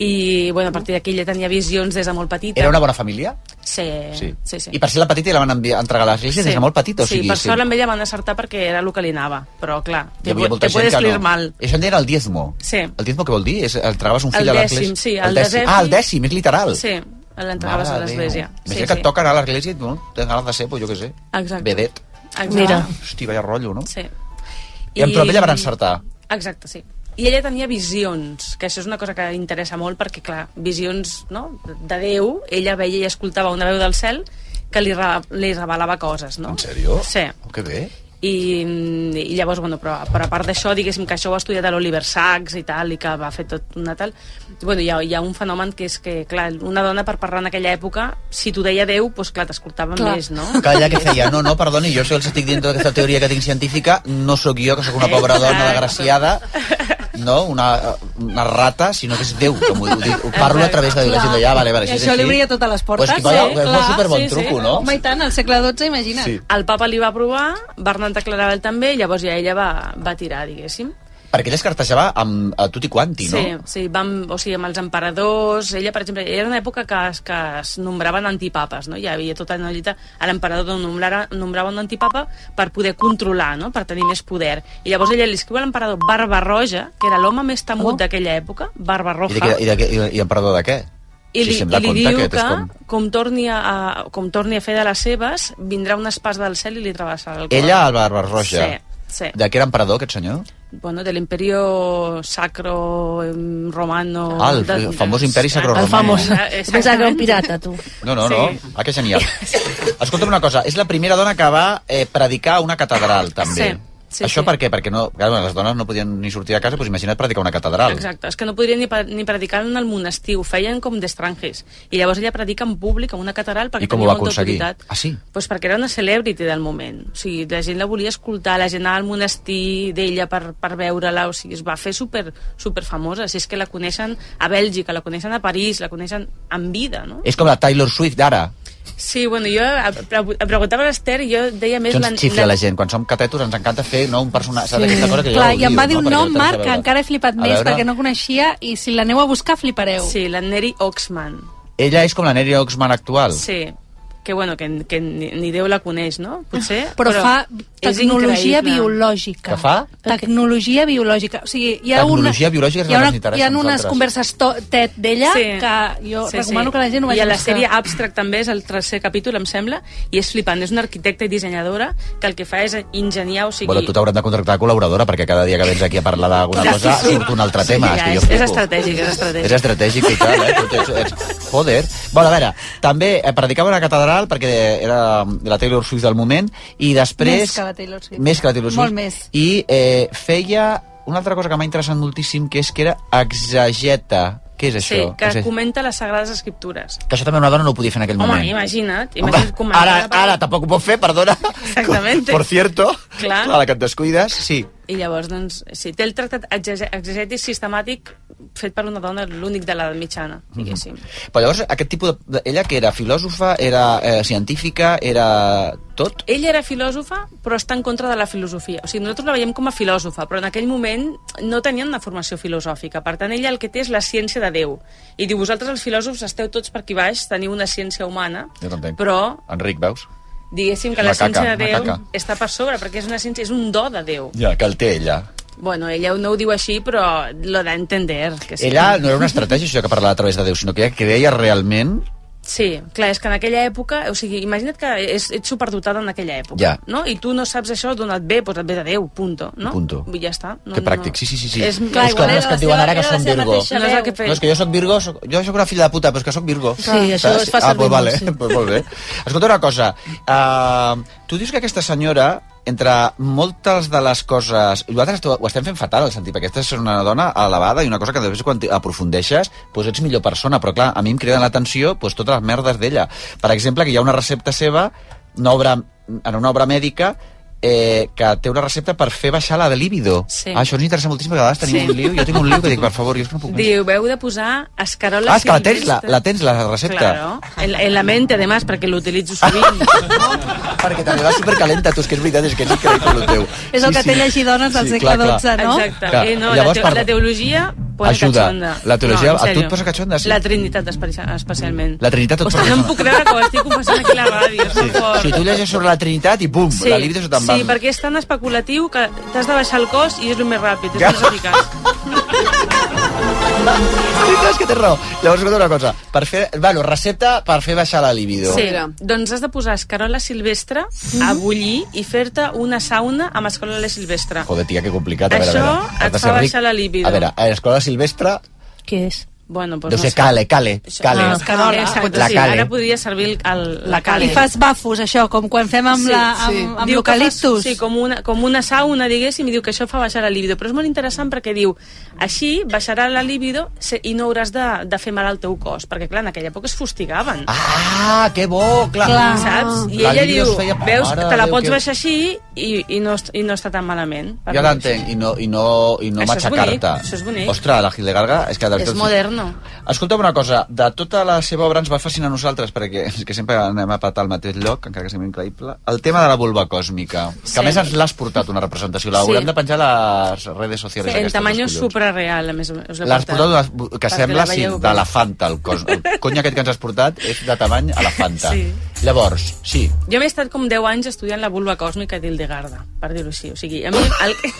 [SPEAKER 14] I, bueno, a partir d'aquí ella tenia visions des de molt petita.
[SPEAKER 5] Era una bona família?
[SPEAKER 14] Sí, sí, Eh, sí. sí.
[SPEAKER 5] I per ser la petita i la van enviar, entregar a l'església sí. des de molt petita. O
[SPEAKER 14] sí,
[SPEAKER 5] sigui,
[SPEAKER 14] per sort amb ella van acertar perquè era el que li anava, però clar, te, pu- te puedes
[SPEAKER 5] que
[SPEAKER 14] liar mal.
[SPEAKER 5] Això en deien el diezmo.
[SPEAKER 14] Sí.
[SPEAKER 5] El diezmo què vol dir? És, entregaves un
[SPEAKER 14] El
[SPEAKER 5] fill a
[SPEAKER 14] dècim,
[SPEAKER 5] l'església?
[SPEAKER 14] sí, el
[SPEAKER 5] dècim.
[SPEAKER 14] desè
[SPEAKER 5] Ah, el
[SPEAKER 14] fill.
[SPEAKER 5] dècim, és literal.
[SPEAKER 14] Sí, l'entregaves a
[SPEAKER 5] Mare
[SPEAKER 14] l'església.
[SPEAKER 5] Déu. Imagina sí, que et toca anar a l'església i tu no tens ganes de ser, pues, jo què sé.
[SPEAKER 14] Exacte.
[SPEAKER 5] Vedet.
[SPEAKER 14] Exacte. Mira.
[SPEAKER 5] Hosti, vaya rotllo, no?
[SPEAKER 14] Sí.
[SPEAKER 5] I, I... però ella van encertar.
[SPEAKER 14] Exacte, sí. I ella tenia visions, que això és una cosa que interessa molt perquè, clar, visions no? de Déu, ella veia i escoltava una veu del cel que li, re, li revelava coses, no? En
[SPEAKER 5] sèrio?
[SPEAKER 14] Sí.
[SPEAKER 5] Oh, que bé.
[SPEAKER 14] I, i llavors, bueno, però, però a part d'això, diguéssim que això ho ha estudiat a l'Oliver Sacks i tal, i que va fer tot una tal... Bueno, hi ha, hi ha un fenomen que és que, clar, una dona per parlar en aquella època, si t'ho deia Déu, doncs clar, t'escoltava
[SPEAKER 5] Clar.
[SPEAKER 14] més, no?
[SPEAKER 5] Calla, que feia, no, no, perdoni, jo els estic dient tota aquesta teoria que tinc científica, no sóc jo, que sóc
[SPEAKER 14] Eh,
[SPEAKER 5] una pobra dona desgraciada, no, una, una rata, sinó que és Déu, com ho, ho, dic, ho parlo a través de Déu, la gent de, ja, vale, vale,
[SPEAKER 11] I
[SPEAKER 5] si és
[SPEAKER 11] això
[SPEAKER 5] així.
[SPEAKER 11] li obria totes les portes.
[SPEAKER 5] Pues que vaya- és un superbon truco, no?
[SPEAKER 11] Home, i tant, al segle XII, imagina't.
[SPEAKER 5] Sí.
[SPEAKER 14] El papa li va provar, Bernat de Claravel també, i llavors ja ella va, va tirar, diguéssim.
[SPEAKER 5] Perquè ella es cartejava amb a tutti quanti, no?
[SPEAKER 14] Sí, sí, van, o sigui, amb els emperadors... Ella, per exemple, era una època que, es- que es nombraven antipapes, no? Hi havia tota una lluita... a L'emperador nombrava, nombrava un antipapa per poder controlar, no? Per tenir més poder. I llavors ella li escriu a l'emperador Barbarroja, que era l'home més temut oh. d'aquella època,
[SPEAKER 5] Ah, I,
[SPEAKER 14] Barbarroja.
[SPEAKER 5] de, què- i, de, què- i, i emperador de què?
[SPEAKER 14] I li,
[SPEAKER 5] si
[SPEAKER 14] i
[SPEAKER 5] se'm la
[SPEAKER 14] li
[SPEAKER 5] conta,
[SPEAKER 14] diu
[SPEAKER 5] aquest
[SPEAKER 14] que,
[SPEAKER 5] és com-
[SPEAKER 14] com torni a, a, com torni a fer de les seves, vindrà un espàs del cel i li travessarà el cor.
[SPEAKER 5] Ella, el Barbarroja.
[SPEAKER 14] Sí, sí.
[SPEAKER 5] De què era emperador, aquest senyor?
[SPEAKER 14] Bueno, de l'imperio sacro em, romano...
[SPEAKER 5] Ah, el
[SPEAKER 14] de-
[SPEAKER 5] famós imperi sacro
[SPEAKER 14] El
[SPEAKER 5] romano.
[SPEAKER 14] famós.
[SPEAKER 6] Exactament. Pensava que era un pirata, tu.
[SPEAKER 5] No, no,
[SPEAKER 14] Sí.
[SPEAKER 5] no. Ah, que genial. Escolta'm una cosa, és la primera dona que va eh, predicar a una catedral, també.
[SPEAKER 14] Sí, sí,
[SPEAKER 5] Això
[SPEAKER 14] sí.
[SPEAKER 5] per què? Perquè no, clar, bueno, les dones no podien ni sortir de casa, doncs imagina't predicar a una catedral.
[SPEAKER 14] Exacte, és que no podrien ni, pa- ni predicar en el monestir, ho feien com d'estranges. I llavors ella predica en públic, en una catedral, perquè
[SPEAKER 5] I com ho
[SPEAKER 14] tenia
[SPEAKER 5] va
[SPEAKER 14] molta
[SPEAKER 5] aconseguir?
[SPEAKER 14] autoritat.
[SPEAKER 5] Ah, sí?
[SPEAKER 14] Pues Doncs perquè era una celebrity del moment. O sigui, la gent la volia escoltar, la gent anava al monestir d'ella per, per veure-la, o sigui, es va fer super, super famosa. Si és que la coneixen a Bèlgica, la coneixen a París, la coneixen en vida, no?
[SPEAKER 5] És com la Taylor Swift d'ara.
[SPEAKER 14] Sí, bueno, jo em pre- em preguntava a l'Ester i jo deia més...
[SPEAKER 5] Això ens
[SPEAKER 14] l'an-
[SPEAKER 5] xifla Doncs la gent. Quan som catetos ens encanta fer no, un personatge, saps, aquesta cosa que
[SPEAKER 11] Clar,
[SPEAKER 5] jo
[SPEAKER 11] i em va dir un nom, Marc, que
[SPEAKER 5] marca,
[SPEAKER 11] encara he flipat
[SPEAKER 5] A
[SPEAKER 11] més
[SPEAKER 5] veure.
[SPEAKER 11] perquè no coneixia i si l'aneu a buscar flipareu.
[SPEAKER 14] Sí, la Neri Oxman.
[SPEAKER 5] Ella és com la Neri Oxman actual.
[SPEAKER 14] Sí, que bueno, que, que ni, ni Déu la coneix, no? Potser,
[SPEAKER 11] Però, però fa
[SPEAKER 14] és
[SPEAKER 11] tecnologia
[SPEAKER 14] increïble.
[SPEAKER 11] biològica.
[SPEAKER 5] Que fa?
[SPEAKER 11] Tecnologia biològica. O sigui, hi ha
[SPEAKER 5] Tecnologia
[SPEAKER 11] una,
[SPEAKER 5] biològica és
[SPEAKER 11] hi ha,
[SPEAKER 5] la que ens
[SPEAKER 11] una,
[SPEAKER 5] interessa
[SPEAKER 11] hi ha
[SPEAKER 5] a
[SPEAKER 11] unes
[SPEAKER 5] nosaltres.
[SPEAKER 11] converses to, TED d'ella
[SPEAKER 14] Sí.
[SPEAKER 11] que jo recomano que la gent ho
[SPEAKER 14] I
[SPEAKER 11] vagi
[SPEAKER 14] a la
[SPEAKER 11] buscar.
[SPEAKER 14] sèrie Abstract també és el tercer capítol, em sembla, i és flipant. És una arquitecta i dissenyadora que el que fa és enginyar, o sigui...
[SPEAKER 5] Bueno, tu t'hauran de contractar de col·laboradora perquè cada dia que vens aquí a parlar d'alguna
[SPEAKER 14] Ja,
[SPEAKER 5] cosa
[SPEAKER 14] sí, sí.
[SPEAKER 5] surt un altre tema. que
[SPEAKER 14] ja,
[SPEAKER 5] jo
[SPEAKER 14] és, és
[SPEAKER 5] flipo.
[SPEAKER 14] estratègic, és estratègic.
[SPEAKER 5] És estratègic i tal, eh? Tot és, és... Joder. Bueno, a veure, també eh, predicava una catedral perquè era la Taylor Swift del moment i després...
[SPEAKER 11] Més que la Taylor Swift.
[SPEAKER 5] Més que la Taylor Swift.
[SPEAKER 11] Molt més.
[SPEAKER 5] I eh, feia una altra cosa que m'ha interessat moltíssim, que és que era exegeta. Què és
[SPEAKER 14] Sí,
[SPEAKER 5] això?
[SPEAKER 14] que
[SPEAKER 5] Exeg-
[SPEAKER 14] comenta les Sagrades Escriptures.
[SPEAKER 5] que això també una dona no ho podia fer en aquell
[SPEAKER 14] Home,
[SPEAKER 5] moment.
[SPEAKER 14] imagina't,
[SPEAKER 5] Home,
[SPEAKER 14] imagina't comentar...
[SPEAKER 5] ara, ara tampoc ho pot fer, perdona.
[SPEAKER 14] Exactamente.
[SPEAKER 5] Por cierto,
[SPEAKER 14] Clar.
[SPEAKER 5] clar, que et descuides, sí.
[SPEAKER 14] I llavors, doncs, sí, té el tractat exege- exegètic sistemàtic fet per una dona, l'únic de l'edat mitjana, diguéssim.
[SPEAKER 5] Però llavors, aquest tipus de... de- Ella que era filòsofa, era eh, científica, era tot?
[SPEAKER 14] Ella era filòsofa, però està en contra de la filosofia. O sigui, nosaltres la veiem com a filòsofa, però en aquell moment no tenien una formació filosòfica. Per tant, ella el que té és la ciència de Déu. I diu, vosaltres els filòsofs esteu tots per aquí baix, teniu una ciència humana,
[SPEAKER 5] Jo t'entenc.
[SPEAKER 14] Però-
[SPEAKER 5] Enric, veus?
[SPEAKER 14] diguéssim que
[SPEAKER 5] Una
[SPEAKER 14] la
[SPEAKER 5] caca,
[SPEAKER 14] ciència
[SPEAKER 5] una
[SPEAKER 14] de Déu
[SPEAKER 5] caca.
[SPEAKER 14] està per sobre, perquè és una ciència, és un do de Déu.
[SPEAKER 5] Ja, que el té ella.
[SPEAKER 14] Bueno, ella no ho diu així, però lo da a entender. Que sí.
[SPEAKER 5] Ella no era una estratègia, això que parlava a través de Déu, sinó que ella creia realment...
[SPEAKER 14] Sí, clar, és que en aquella època, o sigui, imagina't que és, ets superdotada en aquella època,
[SPEAKER 5] Ja.
[SPEAKER 14] no? I tu no saps això d'on et ve, doncs et ve de Déu, punto, no?
[SPEAKER 5] Punto.
[SPEAKER 14] I ja està. No,
[SPEAKER 5] que pràctic, sí, sí, sí. sí.
[SPEAKER 14] És, clar,
[SPEAKER 5] és com les que et diuen ara que són Virgo.
[SPEAKER 14] No és el que
[SPEAKER 5] No, és que jo sóc Virgo, soc, jo sóc una filla de puta, però és que sóc Virgo.
[SPEAKER 14] Sí, això
[SPEAKER 5] Saps?
[SPEAKER 14] es fa
[SPEAKER 5] Ah,
[SPEAKER 14] servir
[SPEAKER 5] pues vale,
[SPEAKER 14] molt, sí.
[SPEAKER 5] pues molt bé. Escolta una cosa, uh, tu dius que aquesta senyora, entre moltes de les coses... Nosaltres ho ho estem fent fatal, al sentit, perquè aquesta és una dona elevada i una cosa que després quan t'hi aprofundeixes doncs ets millor persona, però clar, a mi em criden l'atenció doncs, totes les merdes d'ella. Per exemple, que hi ha una recepta seva una obra, en una obra mèdica eh, que té una recepta per fer baixar la de líbido.
[SPEAKER 14] Sí.
[SPEAKER 5] Ah, això ens interessa moltíssim, que a vegades tenim
[SPEAKER 14] Sí.
[SPEAKER 5] un lío, jo tinc un lío que dic, per favor, jo és que no puc més.
[SPEAKER 14] Diu, heu de posar escarola
[SPEAKER 5] Ah, és que la tens, la,
[SPEAKER 14] silvestre.
[SPEAKER 5] la tens, la recepta.
[SPEAKER 14] Claro, en, en la mente, además, perquè l'utilitzo sovint.
[SPEAKER 5] Perquè també va supercalenta, tu, és que és veritat, és que és increïble el teu.
[SPEAKER 11] És el que té llegir dones del segle XII, no?
[SPEAKER 14] Exacte.
[SPEAKER 5] Clar,
[SPEAKER 14] Eh, no,
[SPEAKER 5] llavors
[SPEAKER 14] la, teo
[SPEAKER 5] parla-
[SPEAKER 14] la teologia posa
[SPEAKER 5] Ajuda.
[SPEAKER 14] cachonda.
[SPEAKER 5] La teologia-
[SPEAKER 14] no, en
[SPEAKER 5] a tu et
[SPEAKER 14] sèrio.
[SPEAKER 5] posa cachonda, sí?
[SPEAKER 14] La Trinitat, espe- especialment.
[SPEAKER 5] La Trinitat et
[SPEAKER 14] Ostres,
[SPEAKER 5] posa
[SPEAKER 14] no
[SPEAKER 5] cachonda.
[SPEAKER 14] em puc creure que ho estic confessant aquí a la ràdio, és molt fort.
[SPEAKER 5] Si tu llegeixes sobre la Trinitat i bum, la libido se te'n va.
[SPEAKER 14] sí, perquè és tan especulatiu que t'has de baixar el cos i és el més ràpid, és
[SPEAKER 5] Ja.
[SPEAKER 14] el més eficaç.
[SPEAKER 5] Clar, és que tens raó. Llavors, escolta una cosa. Per fer, bueno, recepta per fer baixar la libido.
[SPEAKER 14] Sí, doncs has de posar escarola silvestre a
[SPEAKER 5] Mhm.
[SPEAKER 14] bullir i fer-te una sauna amb escarola silvestre.
[SPEAKER 5] Joder, tia, que complicat. A veure,
[SPEAKER 14] Això
[SPEAKER 5] a veure. Has
[SPEAKER 14] et
[SPEAKER 5] de
[SPEAKER 14] fa
[SPEAKER 5] ser ric.
[SPEAKER 14] baixar la libido.
[SPEAKER 5] A veure, a l'escola silvestre
[SPEAKER 14] Què és? Bueno, doncs
[SPEAKER 5] deu
[SPEAKER 14] no
[SPEAKER 5] ser
[SPEAKER 14] sé.
[SPEAKER 5] cale, cale, cale.
[SPEAKER 14] Ah, escarola. Exacte,
[SPEAKER 5] La
[SPEAKER 14] sí,
[SPEAKER 5] cale.
[SPEAKER 14] ara podria servir el, el, la cale.
[SPEAKER 11] I fas bafos, això, com quan fem amb, sí, la, amb, sí. amb
[SPEAKER 14] Diu que
[SPEAKER 11] l'eucaliptus.
[SPEAKER 14] fas- Sí, com una, com una sauna, diguéssim, i diu que això fa baixar la libido. Però és molt interessant perquè diu, així baixarà la libido se- i no hauràs de, de fer mal al teu cos, perquè clar, en aquella època es fustigaven.
[SPEAKER 5] Ah, que bo, clar.
[SPEAKER 11] Ah!
[SPEAKER 14] Saps? I
[SPEAKER 5] La
[SPEAKER 14] ella
[SPEAKER 5] libido
[SPEAKER 14] diu,
[SPEAKER 5] es feia-
[SPEAKER 14] veus,
[SPEAKER 5] Mare
[SPEAKER 14] te la
[SPEAKER 5] Déu,
[SPEAKER 14] pots
[SPEAKER 5] que-
[SPEAKER 14] baixar així i, i, no, est- i no està tan malament. Per
[SPEAKER 5] Jo
[SPEAKER 14] mi.
[SPEAKER 5] l'entenc, i no, i no, i no
[SPEAKER 14] Això és bonic,
[SPEAKER 5] matxacar-te.
[SPEAKER 14] això és bonic.
[SPEAKER 5] Ostres, la Hildegarga... És, que de
[SPEAKER 14] És
[SPEAKER 5] veritat-
[SPEAKER 14] moderno.
[SPEAKER 5] Escolta'm una cosa, de tota la seva obra ens va fascinar a nosaltres, perquè és que sempre anem a patar al mateix lloc, encara que sembli increïble, el tema de la vulva còsmica, que
[SPEAKER 14] Sí.
[SPEAKER 5] a més ens l'has portat una representació, la
[SPEAKER 14] Sí.
[SPEAKER 5] haurem de penjar a les redes socials.
[SPEAKER 14] en
[SPEAKER 5] aquestes,
[SPEAKER 14] tamaño
[SPEAKER 5] els collons.
[SPEAKER 14] suprareal, a més, us l'he
[SPEAKER 5] L'has
[SPEAKER 14] portat.
[SPEAKER 5] portat una, que
[SPEAKER 14] Perquè
[SPEAKER 5] sembla
[SPEAKER 14] la
[SPEAKER 5] sí,
[SPEAKER 14] veieu
[SPEAKER 5] de
[SPEAKER 14] bé.
[SPEAKER 5] la Fanta, el cos. El cony aquest que ens has portat és de tamany a la Fanta.
[SPEAKER 14] Sí.
[SPEAKER 5] Llavors, sí,
[SPEAKER 14] Jo m'he estat com 10 anys estudiant la vulva còsmica d'Hildegarda, per dir-ho així. O sigui, a mi... El...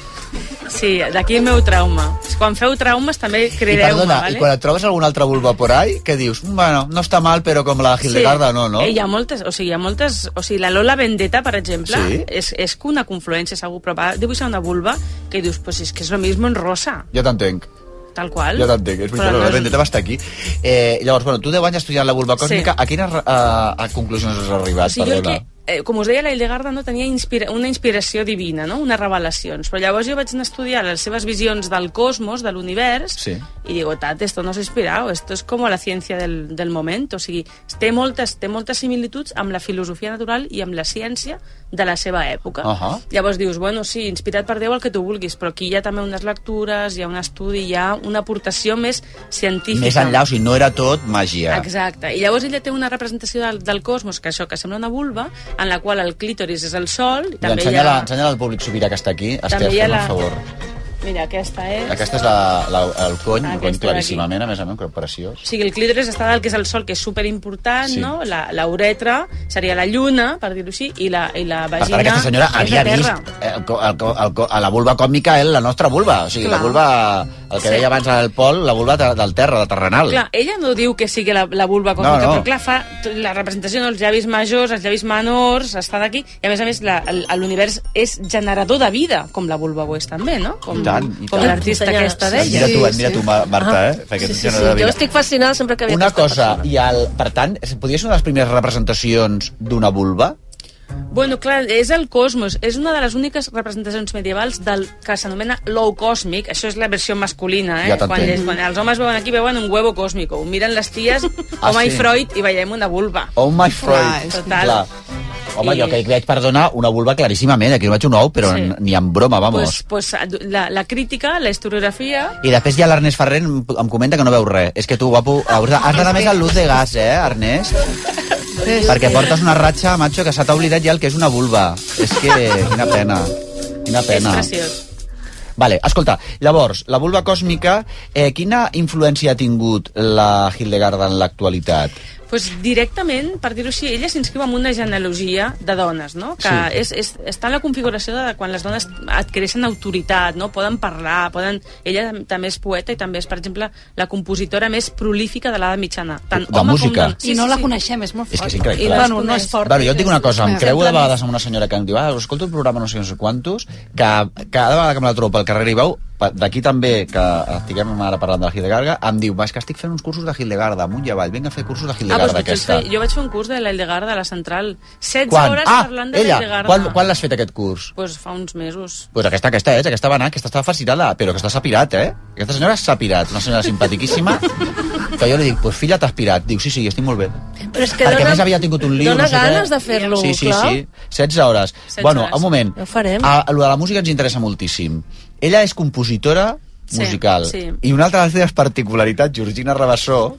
[SPEAKER 14] Sí, d'aquí el meu trauma. Quan feu traumes
[SPEAKER 5] I
[SPEAKER 14] també crideu-me,
[SPEAKER 5] perdona,
[SPEAKER 14] vale?
[SPEAKER 5] i quan et trobes algun altre vulva por ahí, que dius, bueno, no està mal, però com la Hildegarda no, no?
[SPEAKER 14] Eh, hi ha moltes, o sigui, hi ha moltes... O sigui, la Lola Vendetta, per exemple,
[SPEAKER 5] Sí.
[SPEAKER 14] és, és que una confluència, segur, però va dibuixar una vulva que dius, pues és que és lo mismo en rosa,
[SPEAKER 5] Jo t'entenc,
[SPEAKER 14] tal qual.
[SPEAKER 5] jo t'entenc. És
[SPEAKER 14] Però
[SPEAKER 5] veritat, la
[SPEAKER 14] no és-
[SPEAKER 5] Vendetta va estar aquí. Eh, llavors, bueno, tu 10 anys estudiant la vulva còsmica,
[SPEAKER 14] Sí.
[SPEAKER 5] a quines eh, a conclusions has arribat?
[SPEAKER 14] O sigui, jo el
[SPEAKER 5] Perdona.
[SPEAKER 14] que, eh, com us deia, la Hildegarda no tenia inspira una inspiració divina, no? unes revelacions. Però llavors jo vaig anar a estudiar les seves visions del cosmos, de l'univers,
[SPEAKER 5] Sí.
[SPEAKER 14] y digo, Tate, esto no es inspirado, esto es como la ciencia del, del moment. O sigui, té moltes, té moltes similituds amb la filosofia natural i amb la ciència de la seva època.
[SPEAKER 5] Ahà.
[SPEAKER 14] Llavors dius, bueno, sí, inspirat per Déu el que tu vulguis, però aquí hi ha també unes lectures, hi ha un estudi, hi ha una aportació més científica.
[SPEAKER 5] Més enllà, o sigui, no era tot màgia.
[SPEAKER 14] Exacte. I llavors ella té una representació del, del cosmos, que això, que sembla una vulva, en la qual el clítoris és el sol, i
[SPEAKER 5] Mira,
[SPEAKER 14] també hi
[SPEAKER 5] ensenya,
[SPEAKER 14] ha...
[SPEAKER 5] la, ensenya al públic sobirà que està aquí. Esther,
[SPEAKER 14] hi ha
[SPEAKER 5] fem
[SPEAKER 14] la-
[SPEAKER 5] un favor.
[SPEAKER 14] Mira, aquesta és...
[SPEAKER 5] Aquesta és la, la, el cony, el cony
[SPEAKER 14] Aquesta
[SPEAKER 5] claríssimament, a més a més, que preciós.
[SPEAKER 14] O sigui, el clítoris està dalt, que és el sol, que és superimportant,
[SPEAKER 5] Sí.
[SPEAKER 14] sí. no? La, la uretra seria la lluna, per dir-ho així, i la, i la
[SPEAKER 5] Per
[SPEAKER 14] vagina
[SPEAKER 5] tant, aquesta senyora
[SPEAKER 14] és
[SPEAKER 5] havia
[SPEAKER 14] la terra.
[SPEAKER 5] vist eh, el, co- el, co- el, co- a la vulva còmica eh, la nostra vulva. O sigui,
[SPEAKER 14] Clar.
[SPEAKER 5] la vulva, el que
[SPEAKER 14] Sí.
[SPEAKER 5] deia abans el Pol, la vulva de- del terra, del terrenal.
[SPEAKER 14] Clar, ella no diu que sigui la, la vulva
[SPEAKER 5] No,
[SPEAKER 14] còsmica,
[SPEAKER 5] no.
[SPEAKER 14] però clar, fa t- la representació dels llavis majors, els llavis menors, estan aquí, i a més a més la- el- l'univers és generador de vida, com la vulva ho és també, no? Com,
[SPEAKER 5] I tant, i
[SPEAKER 14] com
[SPEAKER 5] tant.
[SPEAKER 14] l'artista
[SPEAKER 6] Senyora-
[SPEAKER 14] aquesta
[SPEAKER 5] Et
[SPEAKER 14] d'ella. Ah.
[SPEAKER 5] Mira tu, et mira tu, Ma- Marta, eh? Perquè
[SPEAKER 6] Ah, Sí, sí,
[SPEAKER 5] tu no
[SPEAKER 6] sí.
[SPEAKER 5] devines.
[SPEAKER 6] Jo estic fascinada sempre que veig
[SPEAKER 5] Una
[SPEAKER 6] aquesta
[SPEAKER 5] cosa, i el, per tant, es- podria ser una de les primeres representacions d'una vulva?
[SPEAKER 14] Bueno, clar, és el cosmos. És una de les úniques representacions medievals del que s'anomena l'ou còsmic. Això és la versió masculina, eh?
[SPEAKER 5] Ja t'entenc.
[SPEAKER 14] quan, és- quan els homes veuen aquí, veuen un huevo còsmic. Ho miren les ties,
[SPEAKER 5] Ah,
[SPEAKER 14] ah, home
[SPEAKER 5] sí?
[SPEAKER 14] i Freud, i veiem una vulva.
[SPEAKER 5] Oh my Freud.
[SPEAKER 14] és total.
[SPEAKER 5] Home,
[SPEAKER 14] I-
[SPEAKER 5] jo que veig, perdona, una vulva claríssimament. Aquí no veig un ou, però
[SPEAKER 14] Sí.
[SPEAKER 5] n- ni en broma, vamos.
[SPEAKER 14] Pues, pues, la, la crítica, la historiografia...
[SPEAKER 5] I després ja l'Ernest Ferrer em, em comenta que no veu res. És que tu, guapo, hauràs de- has d'anar més al luz de gas, eh, Ernest? Perquè portes una ratxa, macho, que se t'ha oblidat ja el que és una vulva. És que... Quina pena. Quina pena.
[SPEAKER 14] És preciós.
[SPEAKER 5] Vale, escolta, llavors, la vulva còsmica, eh, quina influència ha tingut la Hildegarda en l'actualitat?
[SPEAKER 14] Pues directament, per dir-ho així, ella s'inscriu en una genealogia de dones, no? Que
[SPEAKER 5] Sí.
[SPEAKER 14] és, és, està en la configuració de quan les dones adquireixen autoritat, no? Poden parlar, poden... Ella tam- també és poeta i també és, per exemple, la compositora més prolífica de l'edat mitjana. Tant
[SPEAKER 5] De música.
[SPEAKER 14] Com...
[SPEAKER 11] I no la coneixem, és molt
[SPEAKER 5] És
[SPEAKER 11] fort.
[SPEAKER 5] que és increïble.
[SPEAKER 11] Ah, I bueno, no és fort.
[SPEAKER 5] Bueno, jo et dic una cosa, em
[SPEAKER 11] Sí.
[SPEAKER 5] creu de vegades amb una senyora que em diu, ah, escolta el programa no sé, no sé quantos, que cada vegada que me la trobo pel carrer i veu, pa- d'aquí també, que estiguem ara parlant de la Hildegarda, em diu, va, és que estic fent uns cursos de Hildegarda, amunt i avall, vinc a fer cursos de
[SPEAKER 14] Ah,
[SPEAKER 5] Hildegarda
[SPEAKER 14] doncs vaig
[SPEAKER 5] aquesta.
[SPEAKER 14] fer, jo vaig fer un curs de la Hildegarda a la central. 16
[SPEAKER 5] Quan?
[SPEAKER 14] hores
[SPEAKER 5] Ah,
[SPEAKER 14] parlant de
[SPEAKER 5] ella,
[SPEAKER 14] la Hildegarda.
[SPEAKER 5] quan, quan l'has fet aquest curs?
[SPEAKER 14] Pues fa uns mesos.
[SPEAKER 5] Pues aquesta, aquesta és, aquesta va anar, aquesta estava fascinada, però aquesta s'ha pirat, eh? Aquesta senyora s'ha pirat, una senyora simpatiquíssima, que jo li dic, pues filla, t'has pirat. Diu, sí, sí, estic molt bé.
[SPEAKER 6] Però és que
[SPEAKER 5] Perquè
[SPEAKER 6] dona,
[SPEAKER 5] a més havia tingut un lío,
[SPEAKER 6] dona
[SPEAKER 5] no sé
[SPEAKER 6] ganes
[SPEAKER 5] què.
[SPEAKER 6] de fer-lo,
[SPEAKER 5] Sí, sí,
[SPEAKER 6] clar.
[SPEAKER 5] sí. 16 hores.
[SPEAKER 6] 16
[SPEAKER 5] bueno,
[SPEAKER 6] hores.
[SPEAKER 5] un moment.
[SPEAKER 6] Ja ho farem.
[SPEAKER 5] A, a lo de la música ens interessa moltíssim. Ella és compositora
[SPEAKER 14] Sí,
[SPEAKER 5] musical.
[SPEAKER 14] sí.
[SPEAKER 5] I una altra de les seves particularitats, Georgina Rabassó,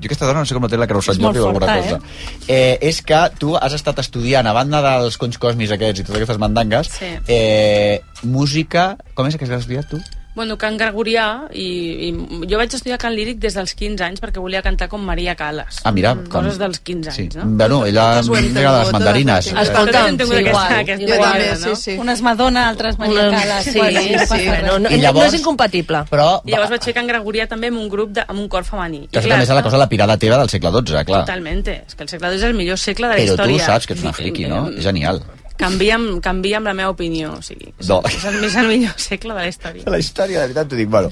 [SPEAKER 5] jo aquesta dona no sé com la té la Creu Sant
[SPEAKER 14] molt
[SPEAKER 5] Jordi o alguna
[SPEAKER 14] forta,
[SPEAKER 5] cosa. Eh? és que tu has estat estudiant, a banda dels conys còsmics aquests i totes aquestes mandangues,
[SPEAKER 14] Sí.
[SPEAKER 5] eh, música... Com és que has estudiat tu?
[SPEAKER 14] Bueno, Can Gregorià, i, i jo vaig estudiar Can Líric des dels 15 anys perquè volia cantar com Maria Calas.
[SPEAKER 5] Ah, mira, com-
[SPEAKER 14] Coses dels 15 anys,
[SPEAKER 5] Sí.
[SPEAKER 14] no?
[SPEAKER 5] Bueno, ella
[SPEAKER 14] Totes ho
[SPEAKER 5] mira
[SPEAKER 14] hem tingut,
[SPEAKER 5] de les
[SPEAKER 14] totes
[SPEAKER 5] mandarines.
[SPEAKER 14] hem tingut. Escolta'm,
[SPEAKER 5] Eh,
[SPEAKER 14] sí, igual. aquesta
[SPEAKER 11] Jo
[SPEAKER 14] guarda,
[SPEAKER 11] també,
[SPEAKER 14] no?
[SPEAKER 11] sí, sí. Unes Madonna, altres Maria
[SPEAKER 6] Una-
[SPEAKER 11] Calas.
[SPEAKER 6] sí,
[SPEAKER 11] bueno,
[SPEAKER 6] sí,
[SPEAKER 11] passa res.
[SPEAKER 6] bueno, no-
[SPEAKER 5] I llavors- no és
[SPEAKER 6] incompatible.
[SPEAKER 5] Però
[SPEAKER 14] I llavors vaig fer Can Gregorià també amb un grup, de, amb un cor femení. I
[SPEAKER 5] Que això també és la cosa la pirada teva del segle XII, clar.
[SPEAKER 14] Totalment. És que el segle II és el millor segle de la
[SPEAKER 5] Però tu
[SPEAKER 14] història. Mm.
[SPEAKER 5] saps que ets una friki, no? És genial.
[SPEAKER 14] Canvia, amb- canvia amb la meva opinió. O sigui,
[SPEAKER 5] No.
[SPEAKER 14] és, el, és el millor segle de la història.
[SPEAKER 5] La història, de veritat, t'ho dic. Bueno,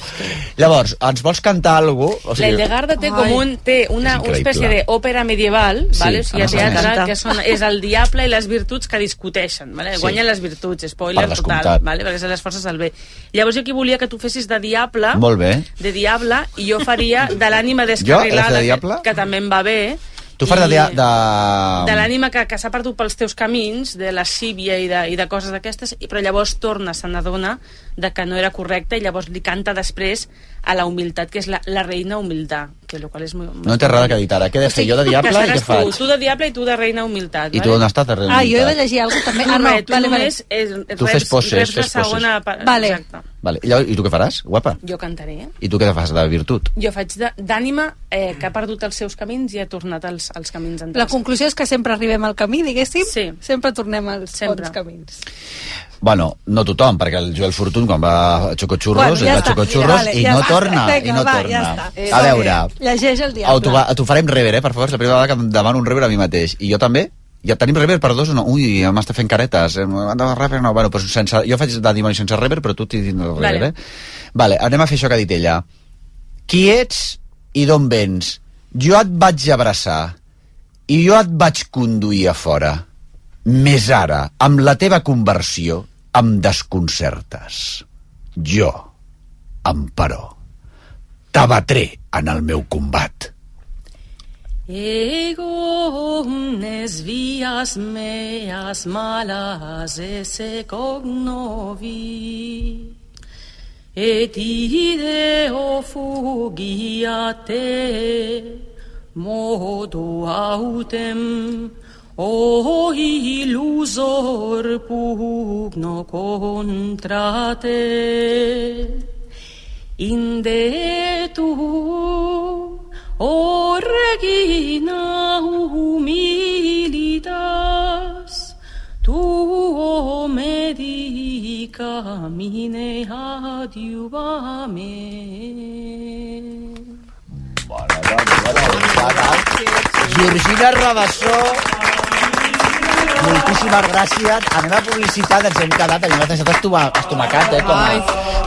[SPEAKER 5] llavors, ens vols cantar alguna cosa?
[SPEAKER 14] La Hildegarda té com un, té una, una
[SPEAKER 5] increïble.
[SPEAKER 14] espècie d'òpera medieval,
[SPEAKER 5] Sí,
[SPEAKER 14] vale? o sigui,
[SPEAKER 5] a
[SPEAKER 14] a
[SPEAKER 5] més a
[SPEAKER 14] teatre,
[SPEAKER 5] més.
[SPEAKER 14] que són, és el diable i les virtuts que discuteixen. Vale?
[SPEAKER 5] Sí.
[SPEAKER 14] Guanyen les virtuts, spoiler
[SPEAKER 5] Per
[SPEAKER 14] total,
[SPEAKER 5] descomptat.
[SPEAKER 14] vale? perquè són les forces del bé. Llavors jo aquí volia que tu fessis de diable,
[SPEAKER 5] Molt bé.
[SPEAKER 14] de diable, i jo faria de l'ànima
[SPEAKER 5] Jo, has de
[SPEAKER 14] descarrilada,
[SPEAKER 5] diable?
[SPEAKER 14] que, que també em va bé,
[SPEAKER 5] Tu faràs de... de...
[SPEAKER 14] de l'ànima que, que s'ha perdut pels teus camins, de la síbia i de, i de coses d'aquestes, i- però llavors torna, se n'adona de que no era correcte i llavors li canta després a la humilitat, que és la, la reina humildà, que lo qual és molt...
[SPEAKER 5] No t'agrada que editar. Què he de fer jo de
[SPEAKER 14] que
[SPEAKER 5] diable i
[SPEAKER 14] seràs
[SPEAKER 5] què faig?
[SPEAKER 14] Tu, tu de diable i tu de reina humilitat.
[SPEAKER 5] I tu on estàs de reunitat?
[SPEAKER 11] Ah, jo he de llegir alguna cosa també. Ah, no,
[SPEAKER 14] Res, tu
[SPEAKER 11] vale, vale.
[SPEAKER 14] només eh,
[SPEAKER 5] Tu
[SPEAKER 14] reps-
[SPEAKER 5] fes poses,
[SPEAKER 14] reps la
[SPEAKER 5] fes poses.
[SPEAKER 14] segona part,
[SPEAKER 11] Vale.
[SPEAKER 14] Exacte.
[SPEAKER 5] Vale. I, llavors, I tu què faràs, guapa?
[SPEAKER 14] Jo cantaré. eh?
[SPEAKER 5] I tu què fas de virtut?
[SPEAKER 14] Jo faig de- d'ànima eh, que ha perdut els seus camins i ha tornat als, als camins antics.
[SPEAKER 11] La conclusió és que sempre arribem al camí, diguéssim. Sí. Sempre tornem als sempre. bons camins.
[SPEAKER 5] Bueno, no tothom, perquè el Joel Fortuny quan va a Xocochurros
[SPEAKER 11] Bueno,
[SPEAKER 5] bueno,
[SPEAKER 11] ja
[SPEAKER 5] ja és
[SPEAKER 11] està,
[SPEAKER 5] a Xocochurros
[SPEAKER 11] vale,
[SPEAKER 5] i,
[SPEAKER 11] ja
[SPEAKER 5] no
[SPEAKER 11] està.
[SPEAKER 5] torna,
[SPEAKER 11] Vinga,
[SPEAKER 5] i no
[SPEAKER 11] va, ja
[SPEAKER 5] torna.
[SPEAKER 11] està.
[SPEAKER 5] a veure,
[SPEAKER 11] Llegeix el diable.
[SPEAKER 5] auto, auto farem rever, eh, per favor, és la primera vegada que em demano un rever a mi mateix. I jo també? Ja tenim rever per dos o no? Ui, m'està fent caretes. eh, m'ha- Rever, no, bueno, doncs sense, jo faig de dimoni sense rever, però tu t'hi dius el rever,
[SPEAKER 13] Vale.
[SPEAKER 5] vale. eh? Vale, anem a fer això que ha dit ella. Qui ets i d'on vens? Jo et vaig abraçar i jo et vaig conduir a fora. Més ara, amb la teva conversió, em desconcertes. Jo, em paró, t'abatré en el meu combat.
[SPEAKER 14] Ego omnes vias meas malas esse cognovi et ideo fugiate modo autem o illusor pugno contra te inde tu O regina humilitas, tu medica mine adiuvame.
[SPEAKER 5] Georgina Rabassó, moltíssimes gràcies. Anem a publicitat, ens hem quedat, ens hem deixat estoma, estomacat, eh? Com a,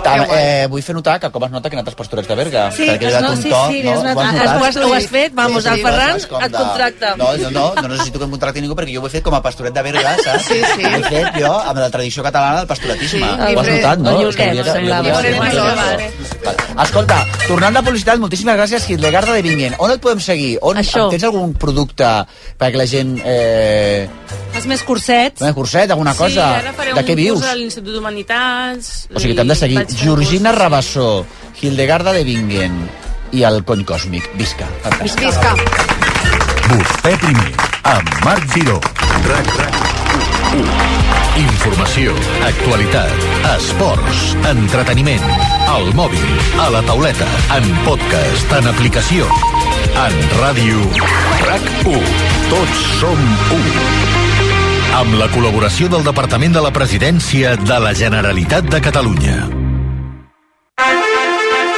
[SPEAKER 5] tam, eh, vull fer notar que com es nota que he anat als pastorets de Berga.
[SPEAKER 6] Sí,
[SPEAKER 5] perquè he
[SPEAKER 6] es
[SPEAKER 5] dat
[SPEAKER 6] no-
[SPEAKER 5] un
[SPEAKER 6] sí,
[SPEAKER 5] to,
[SPEAKER 6] sí,
[SPEAKER 5] no?
[SPEAKER 6] es nota.
[SPEAKER 5] Ho has
[SPEAKER 6] Es-
[SPEAKER 5] notat?
[SPEAKER 6] ho has- ho has fet, vamos, el Ferran
[SPEAKER 5] és com
[SPEAKER 6] et contracta.
[SPEAKER 5] No, no, no, no necessito que em contractin ningú perquè jo ho he fet com a pastoret de Berga, saps?
[SPEAKER 6] Sí, sí.
[SPEAKER 5] Ho he fet jo amb la tradició catalana del pastoratisme.
[SPEAKER 6] Sí,
[SPEAKER 5] ho has
[SPEAKER 6] llibre-
[SPEAKER 5] notat, no?
[SPEAKER 6] el
[SPEAKER 5] És que
[SPEAKER 6] llibret,
[SPEAKER 5] volia-
[SPEAKER 6] semblava.
[SPEAKER 5] volia-
[SPEAKER 6] Llibre de
[SPEAKER 5] Vale. Escolta, tornant de publicitat, moltíssimes gràcies, Hitlegarda de Vingen. On et podem seguir? On Això. tens algun producte perquè la gent... Eh,
[SPEAKER 11] Els més cursets.
[SPEAKER 5] Una curset, alguna cosa?
[SPEAKER 14] Sí, ara faré
[SPEAKER 5] de
[SPEAKER 14] un
[SPEAKER 5] què vius?
[SPEAKER 14] curs a l'Institut d'Humanitats.
[SPEAKER 5] O sigui, t'hem de seguir. Georgina Rabassó, Hildegarda de Vingen i el Cony Còsmic. Visca. Fantàstic.
[SPEAKER 7] Visca.
[SPEAKER 1] Vostè primer, Mm. amb Marc Giró. RAC, RAC, u, u. Informació, actualitat, esports, entreteniment, al mòbil, a la tauleta, en podcast, en aplicació, en ràdio. RAC1. Tots som u. Amb la col·laboració del Departament de la Presidència de la Generalitat de Cataluña.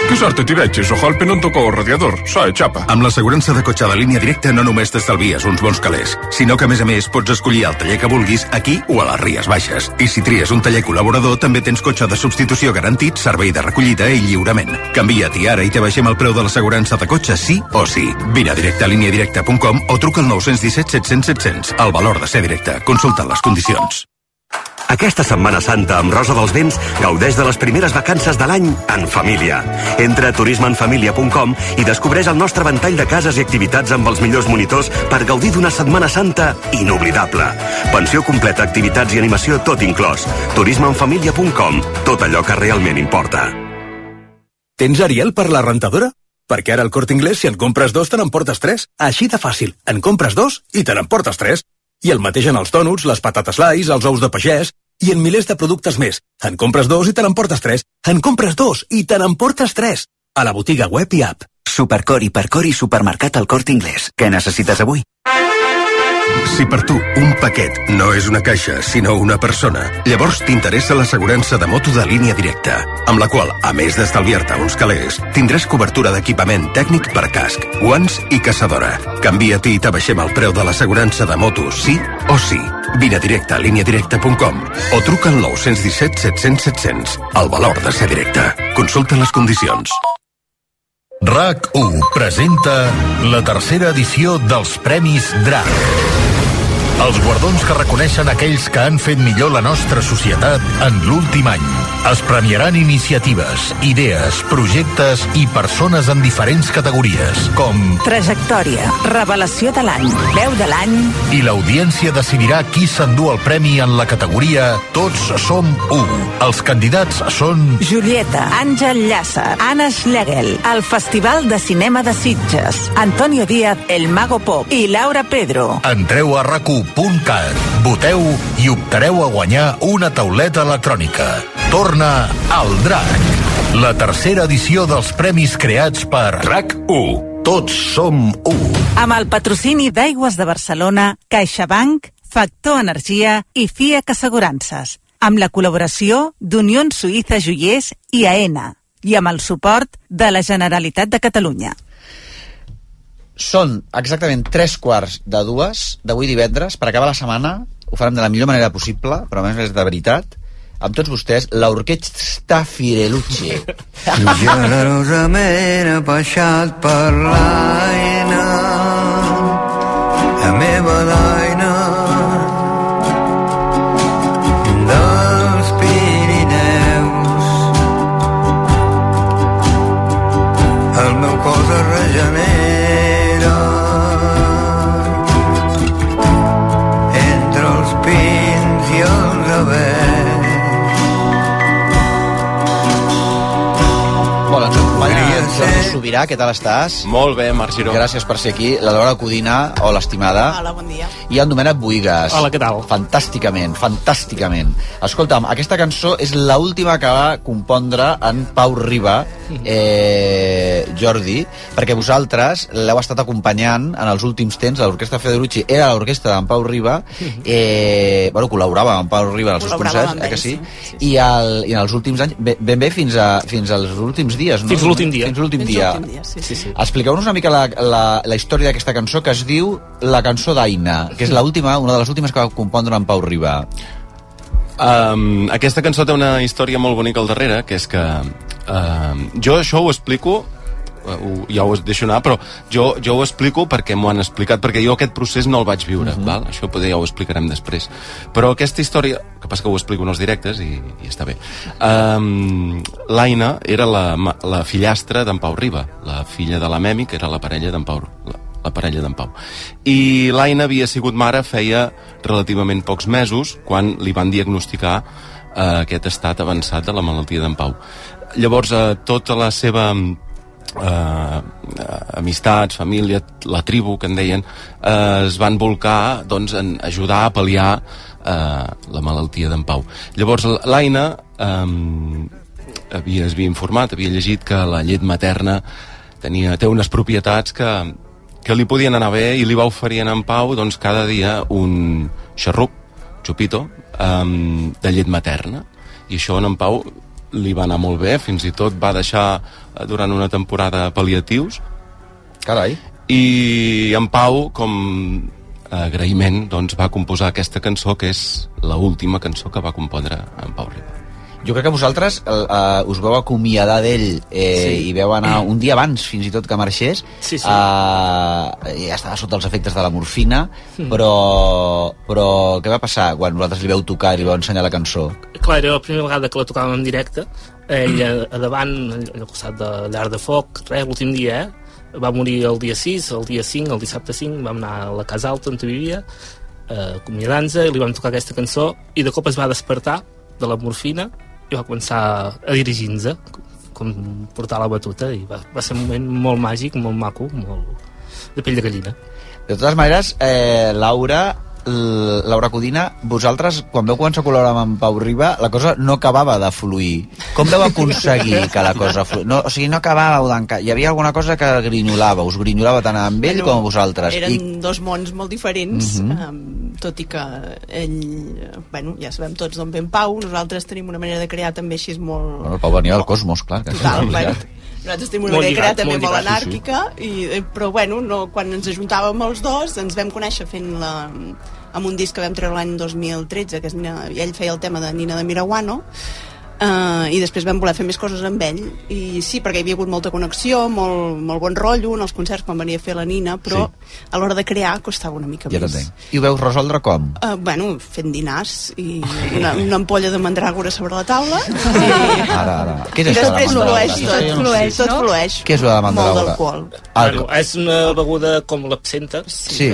[SPEAKER 15] Que sort tiratges, ojalpe no em toca el radiador. Sae, xapa. Amb l'assegurança de cotxe de línia directa no només t'estalvies uns bons calés, sinó que, a més a més, pots escollir el taller que vulguis aquí o a les Ries Baixes. I si tries un taller col·laborador, també tens cotxe de substitució garantit, servei de recollida i lliurament. Canvia't-hi ara i te baixem el preu de l'assegurança de cotxe sí o sí. Vine a directe a líniadirecta.com o truca al 917 700 700. El valor de ser directe. Consulta les condicions.
[SPEAKER 16] Aquesta Setmana Santa amb Rosa dels Vents gaudeix de les primeres vacances de l'any en família. Entra a turismeenfamilia.com i descobreix el nostre ventall de cases i activitats amb els millors monitors per gaudir d'una Setmana Santa inoblidable. Pensió completa, activitats i animació tot inclòs. turismeenfamilia.com, tot allò que realment importa.
[SPEAKER 17] Tens Ariel per la rentadora? Perquè ara al Corte Inglés, si en compres dos, te n'emportes tres. Així de fàcil. En compres dos i te n'emportes tres. I el mateix en els dònuts, les patates lais, els ous de pagès... i en milers de productes més. En compres dos i te n'emportes tres. En compres dos i te n'emportes tres. A la botiga web i app.
[SPEAKER 13] Supercor i Percor i Supermercat al Corte Inglés. Què necessites avui?
[SPEAKER 15] Si per tu un paquet no és una caixa, sinó una persona, llavors t'interessa l'assegurança de moto de línia directa, amb la qual, a més d'estalviar-te uns calés, tindràs cobertura d'equipament tècnic per casc, guants i caçadora. Canvia-t'hi i t'abaixem el preu de l'assegurança de moto sí o sí. Vine a directe a líniadirecta.com o truca al 917 700 700. El valor de ser directe. Consulta les condicions.
[SPEAKER 1] RAC1 presenta la tercera edició dels Premis DRAC. Els guardons que reconeixen aquells que han fet millor la nostra societat en l'últim any. Es premiaran iniciatives, idees, projectes i persones en diferents categories, com
[SPEAKER 18] Trajectòria, revelació de l'any, veu de l'any...
[SPEAKER 1] i l'audiència decidirà qui s'endú el premi en la categoria Tots som u. Els candidats són
[SPEAKER 18] Julieta, Àngel Llàcer, Anna Schlegel, el Festival de Cinema de Sitges, Antonio Díaz, el Mago Pop i Laura Pedro.
[SPEAKER 1] Entreu a racu.cat, voteu i optareu a guanyar una tauleta electrònica. Torna al DRAC, la tercera edició dels premis creats per RAC1. Tots som u.
[SPEAKER 18] Amb el patrocini d'Aigües de Barcelona, CaixaBank, Factor Energia i FIAC Assegurances, amb la col·laboració d'Unió Suïssa Joiers i AENA i amb el suport de la Generalitat de Catalunya.
[SPEAKER 5] Són exactament tres quarts de dues d'avui divendres. Per acabar la setmana ho farem de la millor manera possible, però a més és de veritat. Amb tots vostès, l'orquestra Firelucci.
[SPEAKER 19] Generosament ha baixat per l'aina la meva daina dels Pirineus el meu cos es regenera entre els pins i els abets
[SPEAKER 5] Molt, ens acompanya en Jordi Sobirà, què tal estàs?
[SPEAKER 9] Molt bé, Marc Giró.
[SPEAKER 5] Gràcies per ser aquí. La Laura Codina, o l'estimada.
[SPEAKER 20] Hola, bon dia.
[SPEAKER 5] I el Domènec Buigas.
[SPEAKER 20] Hola, què tal?
[SPEAKER 5] Fantàsticament, fantàsticament. Escolta'm, aquesta cançó és l'última que va compondre en Pau Riba,
[SPEAKER 20] Mhm.
[SPEAKER 5] eh, Jordi, perquè vosaltres l'heu estat acompanyant en els últims temps, l'orquestra Federucci era l'orquestra d'en Pau Riba,
[SPEAKER 20] Mhm.
[SPEAKER 5] eh, bueno, col·laborava amb Pau Riba en els seus
[SPEAKER 20] Col·laborava
[SPEAKER 5] concerts,
[SPEAKER 20] amb
[SPEAKER 5] eh que
[SPEAKER 20] ells,
[SPEAKER 5] sí? I, el, I en els últims anys, ben ben bé fins, a, fins als últims dies, no?
[SPEAKER 20] Fins l'últim dia.
[SPEAKER 5] Fins l'últim
[SPEAKER 20] Fins
[SPEAKER 5] dia.
[SPEAKER 20] l'últim dia, sí, sí.
[SPEAKER 5] Expliqueu-nos una mica la, la, la història d'aquesta cançó que es diu La cançó d'Aina, que és l'última, una de les últimes que va compondre en Pau Riba.
[SPEAKER 9] Um, aquesta cançó té una història molt bonica al darrere, que és que um, jo això ho explico eh, ho, ja ho deixo anar, però jo, jo ho explico perquè m'ho han explicat, perquè jo aquest procés no el vaig viure, uh -huh. val? això poder ja ho explicarem després. Però aquesta història, que passa que ho explico en els directes i, i està bé. Um, L'Aina era la, ma- la fillastra d'en Pau Riba, la filla de la Memi, que era la parella d'en Pau, la, la parella d'en Pau. I l'Aina havia sigut mare feia relativament pocs mesos quan li van diagnosticar eh, aquest estat avançat de la malaltia d'en Pau. Llavors, eh, tota la seva eh, amistats, família, la tribu, que en deien, eh, es van volcar doncs, en ajudar a pal·liar eh, la malaltia d'en Pau. Llavors, l- l'Aina eh, havia, es havia informat, havia llegit que la llet materna tenia, té unes propietats que, que li podien anar bé i li va oferir a en Pau doncs, cada dia un xarrup, xupito, um, de llet materna. I això a en Pau li va anar molt bé, fins i tot va deixar eh, durant una temporada pal·liatius.
[SPEAKER 5] Carai.
[SPEAKER 9] I en Pau, com eh, agraïment, doncs, va composar aquesta cançó, que és la última cançó que va compondre en Pau Riba.
[SPEAKER 5] Jo crec que vosaltres eh, eh, us vau acomiadar d'ell eh, sí.
[SPEAKER 9] Sí.
[SPEAKER 5] i veu anar un dia abans fins i tot que marxés
[SPEAKER 9] Sí, sí.
[SPEAKER 5] Eh, ja estava sota els efectes de la morfina
[SPEAKER 20] Mm.
[SPEAKER 9] Hmm.
[SPEAKER 5] però, però què va passar quan vosaltres li vau tocar i li vau ensenyar la cançó?
[SPEAKER 20] Clar, era la primera vegada que la tocàvem en directe. Ell a, a davant, allà al costat de Llar de Foc, res, l'últim dia, eh? Va morir el dia 6, el dia 5, el dissabte 5, vam anar a la Casa Alta, on vivia, eh, acomiadant-se, i li vam tocar aquesta cançó, i de cop es va despertar de la morfina i va començar a dirigir-nos, com portar la batuta, i va, va ser un moment molt màgic, molt maco, molt de pell de gallina.
[SPEAKER 5] De totes maneres, eh, Laura, l- Laura Codina, vosaltres, quan vau començar a col·laborar amb en Pau Riba, la cosa no acabava de fluir. Com vau aconseguir que la cosa fluï? No, o sigui, no acabàveu d'enca... Hi havia alguna cosa que grinyolava, us grinyolava tant amb ell com a vosaltres.
[SPEAKER 21] Eren
[SPEAKER 5] I
[SPEAKER 21] dos mons molt diferents,
[SPEAKER 5] Mhm.
[SPEAKER 21] em, tot i que ell... eh, Bueno, ja sabem tots d'on ve en Pau, nosaltres tenim una manera de crear també així molt...
[SPEAKER 5] Bueno, el Pau venia del cosmos, clar. Que
[SPEAKER 21] Total, bueno, nosaltres tenim una
[SPEAKER 5] Molt
[SPEAKER 21] manera de crear
[SPEAKER 5] lligat,
[SPEAKER 21] també
[SPEAKER 5] molt
[SPEAKER 21] molt
[SPEAKER 5] lligat, sí, sí.
[SPEAKER 21] anàrquica, i, eh, però bueno, no, quan ens ajuntàvem els dos ens vam conèixer fent la, amb un disc que vam treure l'any 2013, que és Nina, i ell feia el tema de Nina de Miraguano, Uh, i després vam voler fer més coses amb ell i sí, perquè hi havia hagut molta connexió molt, molt bon rotllo en els concerts quan venia a fer la Nina però sí. a l'hora de crear costava una mica
[SPEAKER 5] ja
[SPEAKER 21] més
[SPEAKER 5] t'entenc. I ho veu resoldre com?
[SPEAKER 21] Uh, bueno, fent dinars i una, una ampolla de mandragora sobre la taula
[SPEAKER 5] Ara, ara. Què és
[SPEAKER 21] i
[SPEAKER 5] això de la
[SPEAKER 21] després
[SPEAKER 5] mandala?
[SPEAKER 21] flueix tot,
[SPEAKER 5] Sí,
[SPEAKER 21] flueix, tot flueix.
[SPEAKER 5] Què és la de mandala?
[SPEAKER 21] Molt d'alcohol.
[SPEAKER 5] Alco-
[SPEAKER 20] Bueno, és una beguda com l'absenta,
[SPEAKER 5] Sí.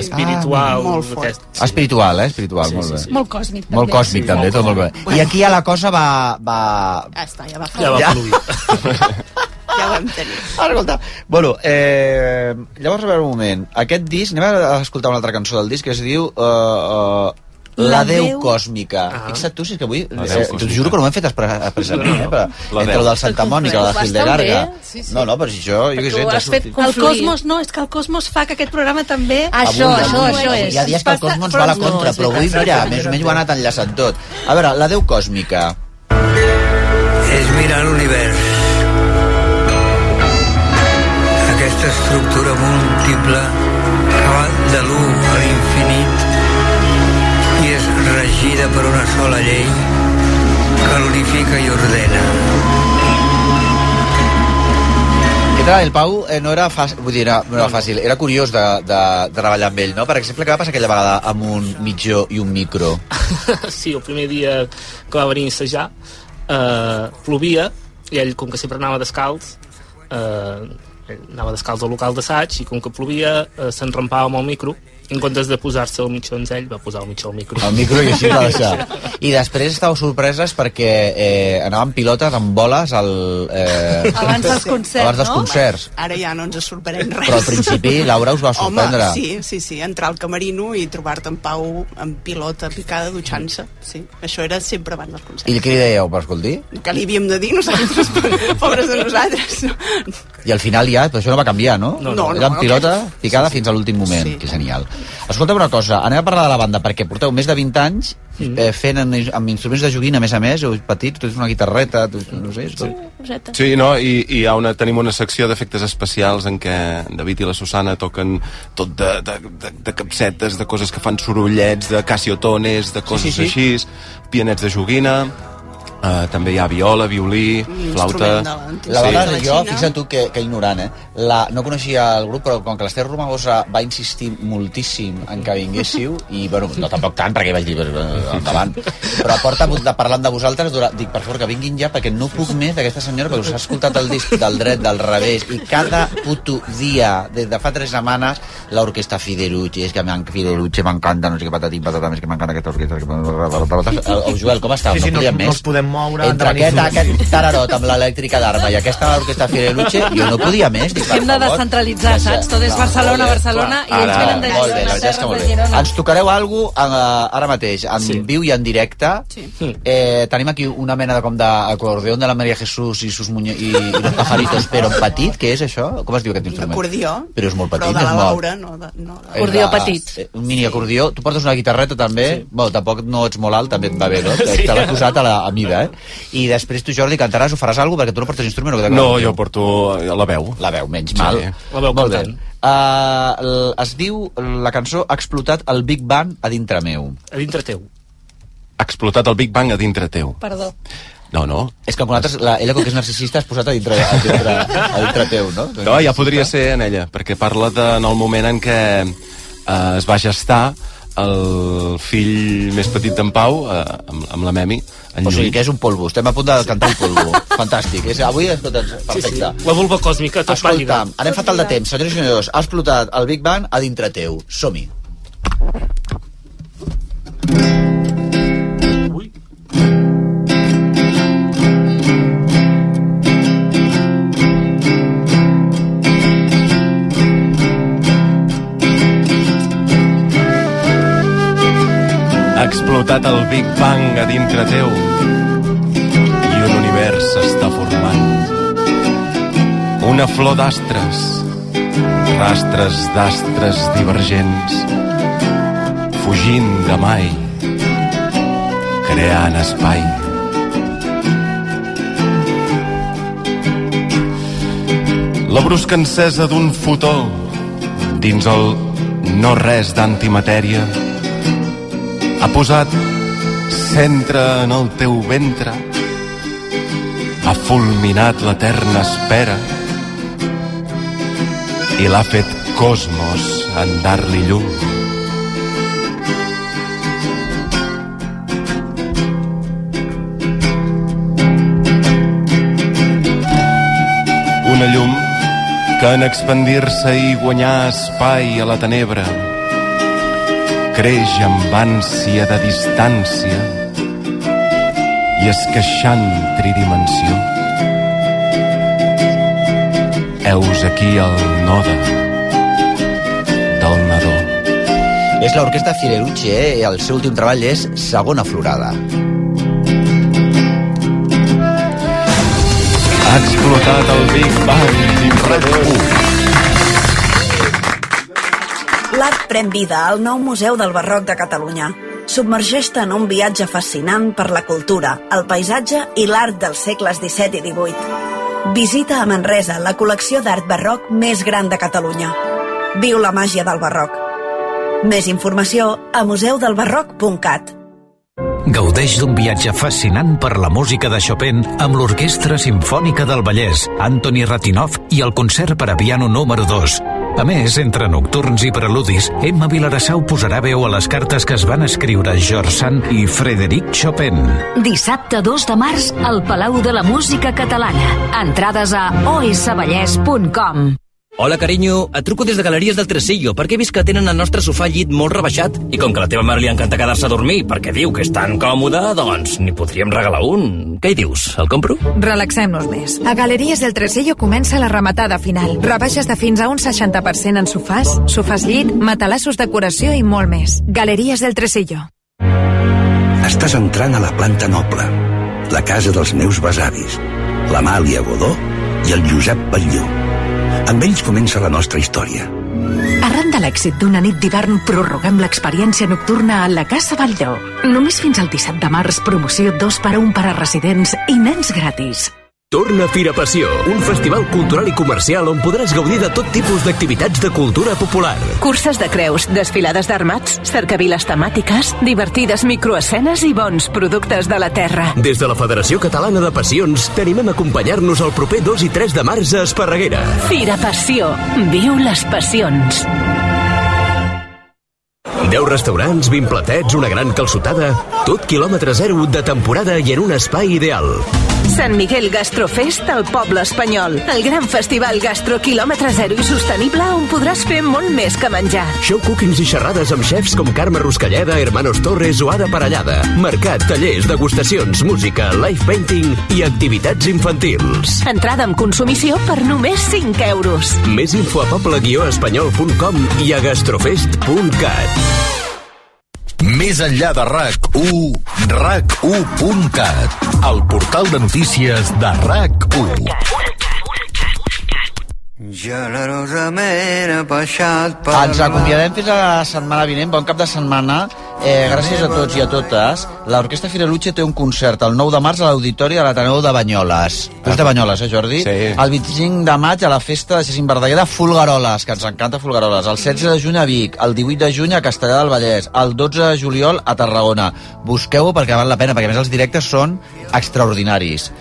[SPEAKER 5] Ah,
[SPEAKER 20] espiritual.
[SPEAKER 5] molt
[SPEAKER 20] fort. Aquest,
[SPEAKER 5] Espiritual, eh? Espiritual, molt bé.
[SPEAKER 21] Molt còsmic,
[SPEAKER 5] Molt còsmic, també, tot molt bé. I aquí a la cosa va... va...
[SPEAKER 21] Ja està, ja va
[SPEAKER 5] Ja va fluir.
[SPEAKER 21] ja ho vam tenir.
[SPEAKER 5] Ara, escolta, bueno, eh, llavors a veure un moment. Aquest disc, anem a escoltar una altra cançó del disc que es diu... Uh, uh, la
[SPEAKER 21] La
[SPEAKER 5] Déu
[SPEAKER 21] Déu-
[SPEAKER 5] Còsmica. Ah. Fixa't tu, si és que avui...
[SPEAKER 2] La Déu
[SPEAKER 5] Eh, t'ho
[SPEAKER 2] Còsmica.
[SPEAKER 22] doncs
[SPEAKER 5] juro que no ho hem fet express- expressament,
[SPEAKER 2] No, no.
[SPEAKER 5] eh? Però,
[SPEAKER 2] La
[SPEAKER 5] entre
[SPEAKER 2] Déu.
[SPEAKER 5] el del Santa Mònica, la de
[SPEAKER 21] Bastant
[SPEAKER 5] Hildegarda...
[SPEAKER 21] bé, sí, sí.
[SPEAKER 5] No, no, però si jo... jo què sé, t'ha sortit.
[SPEAKER 11] El Cosmos, no, és que el Cosmos fa que aquest programa també...
[SPEAKER 5] Avui, avui, avui. Hi ha dies que el cosmos va a la contra, però avui, mira, més o menys ho ha anat enllaçant tot. A veure, la Déu Còsmica.
[SPEAKER 19] és mirar l'univers. Aquesta estructura múltiple que va de l'1 a l'infinit i és regida per una sola llei que l'unifica i ordena.
[SPEAKER 5] Què tal? El Pau eh, no era fàcil, vull dir, era, no era fàcil, era curiós de, de, de treballar amb ell, no? Per exemple, què va passar aquella vegada amb un mitjó i un micro?
[SPEAKER 20] sí, el primer dia que va venir a assajar eh, plovia i ell com que sempre anava descalç eh, ell anava descalç al local d'assaig i com que plovia eh, s'enrampava amb el micro en comptes de posar-se el mitjons ell va posar el mitjó al micro
[SPEAKER 5] El micro i així va deixar. I després estàveu sorpreses perquè eh, anàvem pilotes amb boles al, eh,
[SPEAKER 21] Abans dels concerts,
[SPEAKER 5] abans dels
[SPEAKER 21] no?
[SPEAKER 5] concerts.
[SPEAKER 21] Ara ja no ens sorprèn res.
[SPEAKER 5] Però al principi, Laura, us va sorprendre.
[SPEAKER 21] Home, sí, sí, sí, entrar al camerino i trobar-te en Pau amb pilota picada dutxant-se, sí. Això era sempre abans dels concerts.
[SPEAKER 5] I què li dèieu, per escolti?
[SPEAKER 21] Que li havíem de dir nosaltres, pobres de nosaltres.
[SPEAKER 5] I al final ja, però això no va canviar, no?
[SPEAKER 21] No, no,
[SPEAKER 5] Era en
[SPEAKER 21] no,
[SPEAKER 5] pilota
[SPEAKER 21] no.
[SPEAKER 5] picada fins a l'últim moment, sí. que genial. Escolta'm una cosa, anem a parlar de la banda, perquè porteu més de 20 anys eh, fent en, amb instruments de joguina, a més a més, heu petit, tu ets una guitarreta, tu, no sé, és tot...
[SPEAKER 9] Sí, no, i, i hi ha una, tenim una secció d'efectes especials en què en David i la Susana toquen tot de, de, de, de capsetes, de coses que fan sorollets, de casiotones, de coses
[SPEAKER 23] sí,
[SPEAKER 9] sí,
[SPEAKER 23] sí.
[SPEAKER 9] sí, sí. així, pianets de joguina, uh, també hi ha viola, violí, flauta...
[SPEAKER 5] La vegada jo, fixa't tu que, que ignorant, eh? La, no coneixia el grup, però com que l'Ester Romagosa va insistir moltíssim en que vinguéssiu, i bueno, no tampoc tant, perquè vaig dir, "Bé, bé, endavant, però porta de parlant de vosaltres, durant, dic, per favor, que vinguin ja, perquè no puc més d'aquesta senyora, perquè us ha escoltat el disc del dret, del revés, i cada puto dia, des de fa tres setmanes, l'orquestra Fiderucci, és que m'en- Fiderucci m'encanta, no sé què, patatim, patatam, és que m'encanta aquesta orquestra. Que... El Joel, com estàs?
[SPEAKER 22] Sí, sí, no,
[SPEAKER 5] podíem
[SPEAKER 22] no
[SPEAKER 5] més?
[SPEAKER 22] els podem moure.
[SPEAKER 5] Entre
[SPEAKER 22] endavant i
[SPEAKER 5] aquest,
[SPEAKER 22] surt.
[SPEAKER 5] aquest tararot amb l'elèctrica d'arma i aquesta amb l'orquestra Fireluche, jo no podia més. Dic, per
[SPEAKER 11] Hem de
[SPEAKER 5] favor.
[SPEAKER 11] descentralitzar, saps? Tot és
[SPEAKER 5] No,
[SPEAKER 11] Barcelona,
[SPEAKER 5] molt bé,
[SPEAKER 11] Barcelona, i
[SPEAKER 5] clar.
[SPEAKER 11] ells
[SPEAKER 5] Ara,
[SPEAKER 11] venen de
[SPEAKER 5] Molt bé,
[SPEAKER 11] Girona,
[SPEAKER 5] la veritat és que
[SPEAKER 11] terres
[SPEAKER 5] molt
[SPEAKER 11] de
[SPEAKER 5] bé.
[SPEAKER 11] Girona.
[SPEAKER 5] Ens tocareu alguna cosa ara mateix, en sí. viu i en directe. Sí. Eh, tenim aquí una mena de com d'acordeon de la Maria Jesús i, sus muñe i, i los pajaritos, però en petit, què és això? Com es diu aquest instrument?
[SPEAKER 21] Acordió,
[SPEAKER 5] Però és molt
[SPEAKER 21] però
[SPEAKER 5] petit,
[SPEAKER 21] de
[SPEAKER 5] no
[SPEAKER 21] la
[SPEAKER 5] és molt...
[SPEAKER 21] Laura, no, de, no. de-
[SPEAKER 5] És la- eh, Un mini acordió. Tu portes una guitarreta, també. Sí. Bueno, tampoc no ets molt alt, també et va bé, no? Te,
[SPEAKER 9] Sí.
[SPEAKER 5] te l'ha posat a, la, a mida, eh? I després tu, Jordi, cantaràs o faràs alguna cosa? Perquè tu no portes instrument. O
[SPEAKER 9] No, jo porto la veu.
[SPEAKER 5] La veu, menys mal.
[SPEAKER 20] La veu
[SPEAKER 5] Molt bé.
[SPEAKER 20] cantant.
[SPEAKER 5] Uh, l- es diu, la cançó ha explotat el Big Bang a dintre meu.
[SPEAKER 20] a dintre teu
[SPEAKER 9] Ha explotat el Big Bang a dintre teu.
[SPEAKER 11] Perdó.
[SPEAKER 9] No, no.
[SPEAKER 5] És que amb nosaltres, la, ella, com que és narcisista, has posat a dintre, a dintre, a dintre teu, no?
[SPEAKER 9] No, ja podria ser en ella, perquè parla de, en el moment en què eh, es va gestar el fill més petit d'en Pau, eh, amb, amb la Memi, en
[SPEAKER 5] O sigui,
[SPEAKER 9] Lluís.
[SPEAKER 5] que és un polvo. Estem a punt de cantar el polvo. Fantàstic. És, avui, escolta, perfecte.
[SPEAKER 20] La vulva còsmica, tot pàl·lida.
[SPEAKER 5] Escolta'm, anem fatal de temps. Senyors i senyors, ha explotat el Big Bang a dintre teu. Som-hi.
[SPEAKER 12] Thank
[SPEAKER 9] explotat el Big Bang a dintre teu i un univers s'està formant. Una flor d'astres, rastres d'astres divergents, fugint de mai, creant espai. La brusca encesa d'un fotó dins el no res d'antimatèria ha posat centre en el teu ventre ha fulminat l'eterna espera i l'ha fet cosmos en dar-li llum una llum que en expandir-se i guanyar espai a la tenebra creix amb ànsia de distància i esqueixant tridimensió. Heus aquí el node del nadó.
[SPEAKER 5] És l'orquestra Firerucci, eh? i el seu últim treball és Segona Florada.
[SPEAKER 9] Ha explotat el Big Bang d'Imperador.
[SPEAKER 23] L'art pren vida al nou Museu del Barroc de Catalunya. Submergeix-te en un viatge fascinant per la cultura, el paisatge i l'art dels segles XVII i XVIII. Visita a Manresa la col·lecció d'art barroc més gran de Catalunya. Viu la màgia del barroc. Més informació a museudelbarroc.cat.
[SPEAKER 15] Gaudeix d'un viatge fascinant per la música de Chopin amb l'Orquestra Simfònica del Vallès, Antoni Ratinov i el concert per a piano número 2. A més, entre nocturns i preludis, Emma Vilarassau posarà veu a les cartes que es van escriure George Sand i Frederic Chopin.
[SPEAKER 24] Dissabte 2 de març al Palau de la Música Catalana. Entrades a osvallès.com.
[SPEAKER 3] Hola, carinyo. Et truco des de Galeries del Tresillo perquè he vist que tenen el nostre sofà llit molt rebaixat i com que a la teva mare li encanta quedar-se a dormir perquè diu que és tan còmode, doncs n'hi podríem regalar un. Què hi dius? El compro?
[SPEAKER 25] Relaxem-nos més. A Galeries del Tresillo comença la rematada final. Rebaixes de fins a un 60% en sofàs, sofàs llit, matalassos decoració i molt més. Galeries del Tresillo.
[SPEAKER 26] Estàs entrant a la planta noble, la casa dels meus besavis, l'Amàlia Godó i el Josep Batlló. Amb ells comença la nostra història.
[SPEAKER 27] Arran de l'èxit d'una nit d'hivern, prorroguem l'experiència nocturna a la Casa Valldó. Només fins al 17 de març, promoció 2 per 1 per a residents i nens gratis.
[SPEAKER 28] Torna Fira Passió, un festival cultural i comercial on podràs gaudir de tot tipus d'activitats de cultura popular.
[SPEAKER 29] Curses de creus, desfilades d'armats, cercaviles temàtiques, divertides microescenes i bons productes de la terra.
[SPEAKER 28] Des de la Federació Catalana de Passions, t'animem a acompanyar-nos el proper 2 i 3 de març a Esparreguera.
[SPEAKER 29] Fira Passió. Viu les passions.
[SPEAKER 28] 10 restaurants, 20 platets, una gran calçotada, tot quilòmetre zero de temporada i en un espai ideal.
[SPEAKER 29] Sant Miguel Gastrofest al poble espanyol. El gran festival gastro quilòmetre zero i sostenible on podràs fer molt més que menjar.
[SPEAKER 28] Show cookings i xerrades amb xefs com Carme Ruscalleda, Hermanos Torres o Ada Parellada. Mercat, tallers, degustacions, música, live painting i activitats infantils.
[SPEAKER 29] Entrada amb consumició per només 5 euros.
[SPEAKER 28] Més info a poble-espanyol.com i a gastrofest.cat.
[SPEAKER 1] Més enllà de RAC1, RAC1.cat, el portal de notícies de RAC1.
[SPEAKER 19] Generosament ha baixat per
[SPEAKER 5] Ah, Ens acomiadem fins a la setmana vinent. Bon cap de setmana. Eh, gràcies a tots i a totes. L'Orquestra Fireluche té un concert el 9 de març a l'Auditori de l'Ateneu de Banyoles. Tu ets de Banyoles, eh, Jordi?
[SPEAKER 10] Sí.
[SPEAKER 5] El 25 de maig a la festa de Cecim Verdaguer de Folgueroles, que ens encanta Folgueroles. El 16 de juny a Vic, el 18 de juny a Castellà del Vallès, el 12 de juliol a Tarragona. Busqueu-ho perquè val la pena, perquè a més els directes són extraordinaris.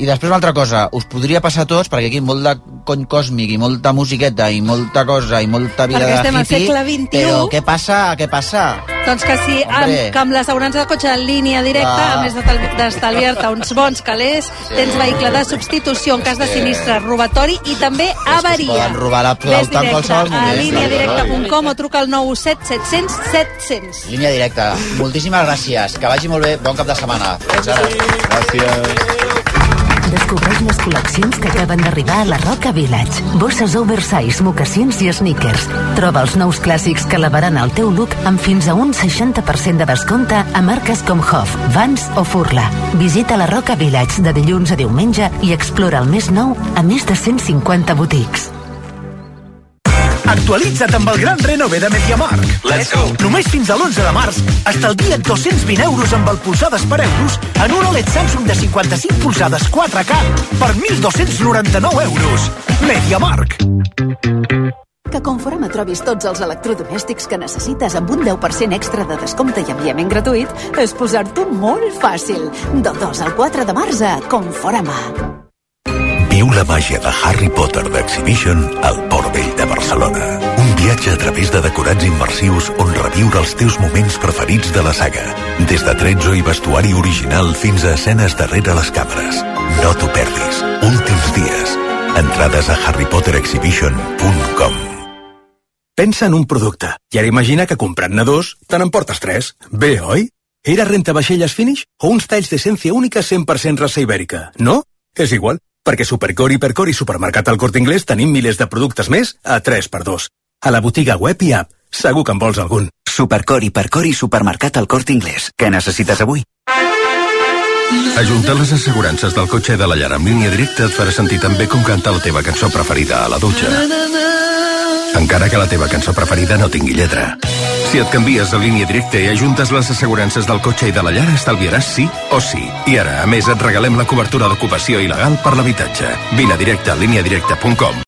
[SPEAKER 5] I després una altra cosa, us podria passar a tots, perquè aquí molt de cony còsmic i molta musiqueta i molta cosa i molta vida
[SPEAKER 11] Perquè estem
[SPEAKER 5] de
[SPEAKER 11] al
[SPEAKER 5] hippie,
[SPEAKER 11] segle XXI.
[SPEAKER 5] però què passa, què passa?
[SPEAKER 11] Doncs que sí, amb,
[SPEAKER 5] Hombre.
[SPEAKER 11] que amb l'assegurança de cotxe en línia directa,
[SPEAKER 5] Ah.
[SPEAKER 11] a més d'estal- d'estalviar-te uns bons calés, tens vehicle de substitució en cas de
[SPEAKER 5] Sí.
[SPEAKER 11] sinistre, robatori i també avaria.
[SPEAKER 5] Poden robar la
[SPEAKER 11] Més
[SPEAKER 5] flauta en
[SPEAKER 11] directe
[SPEAKER 5] qualsevol
[SPEAKER 11] a
[SPEAKER 5] moment. eh?
[SPEAKER 11] líniadirecta.com o truca al 917 700 700.
[SPEAKER 5] Línia directa. Moltíssimes gràcies. Que vagi molt bé. Bon cap de setmana. Fins ara. Gràcies.
[SPEAKER 30] Descobreix les col·leccions que acaben d'arribar a la Roca Village. Bosses oversize, mocassins i sneakers. Troba els nous clàssics que elevaran el teu look amb fins a un 60% de descompte a marques com Hof, Vans o Furla. Visita la Roca Village de dilluns a diumenge i explora el més nou a més de 150 botics.
[SPEAKER 31] Actualitza't amb el gran renove de Mediamarkt. Let's go! Només fins a l'11 de març estalvia't 220 euros amb el polsades per euros en un OLED Samsung de 55 polsades 4K per 1.299 euros. Mediamarkt.
[SPEAKER 32] Que Conforama trobis tots els electrodomèstics que necessites amb un 10% extra de descompte i enviament gratuït és posar-t'ho molt fàcil. Del 2 al 4 de març a Conforama.
[SPEAKER 15] Viu la màgia de Harry Potter d'Exhibition al Port Vell de Barcelona. Un viatge a través de decorats immersius on reviure els teus moments preferits de la saga. Des de tretzo i vestuari original fins a escenes darrere les càmeres. No t'ho perdis. Últims dies. Entrades a harrypoterexhibition.com
[SPEAKER 33] Pensa en un producte i ara imagina que comprant-ne dos te n'emportes tres. Bé, oi? Era rentavaixelles Finish o uns talls d'essència única 100% raça ibèrica, no? És igual, perquè Supercor, Hipercor i Supermercat al Corte Inglés tenim milers de productes més a 3x2. A la botiga web i app, segur que en vols algun.
[SPEAKER 34] Supercor, Hipercor i Supermercat al Corte Inglés. Què necessites avui?
[SPEAKER 1] Ajuntar les assegurances del cotxe i de la llar amb línia directa et farà sentir tan bé com cantar la teva cançó preferida a la dutxa. Encara que la teva cançó preferida no tingui lletra. Si et canvies a línia directa i ajuntes les assegurances del cotxe i de la llar, estalviaràs sí o sí. I ara, a més, et regalem la cobertura d'ocupació il·legal per l'habitatge. Vine a directe a líniadirecta.com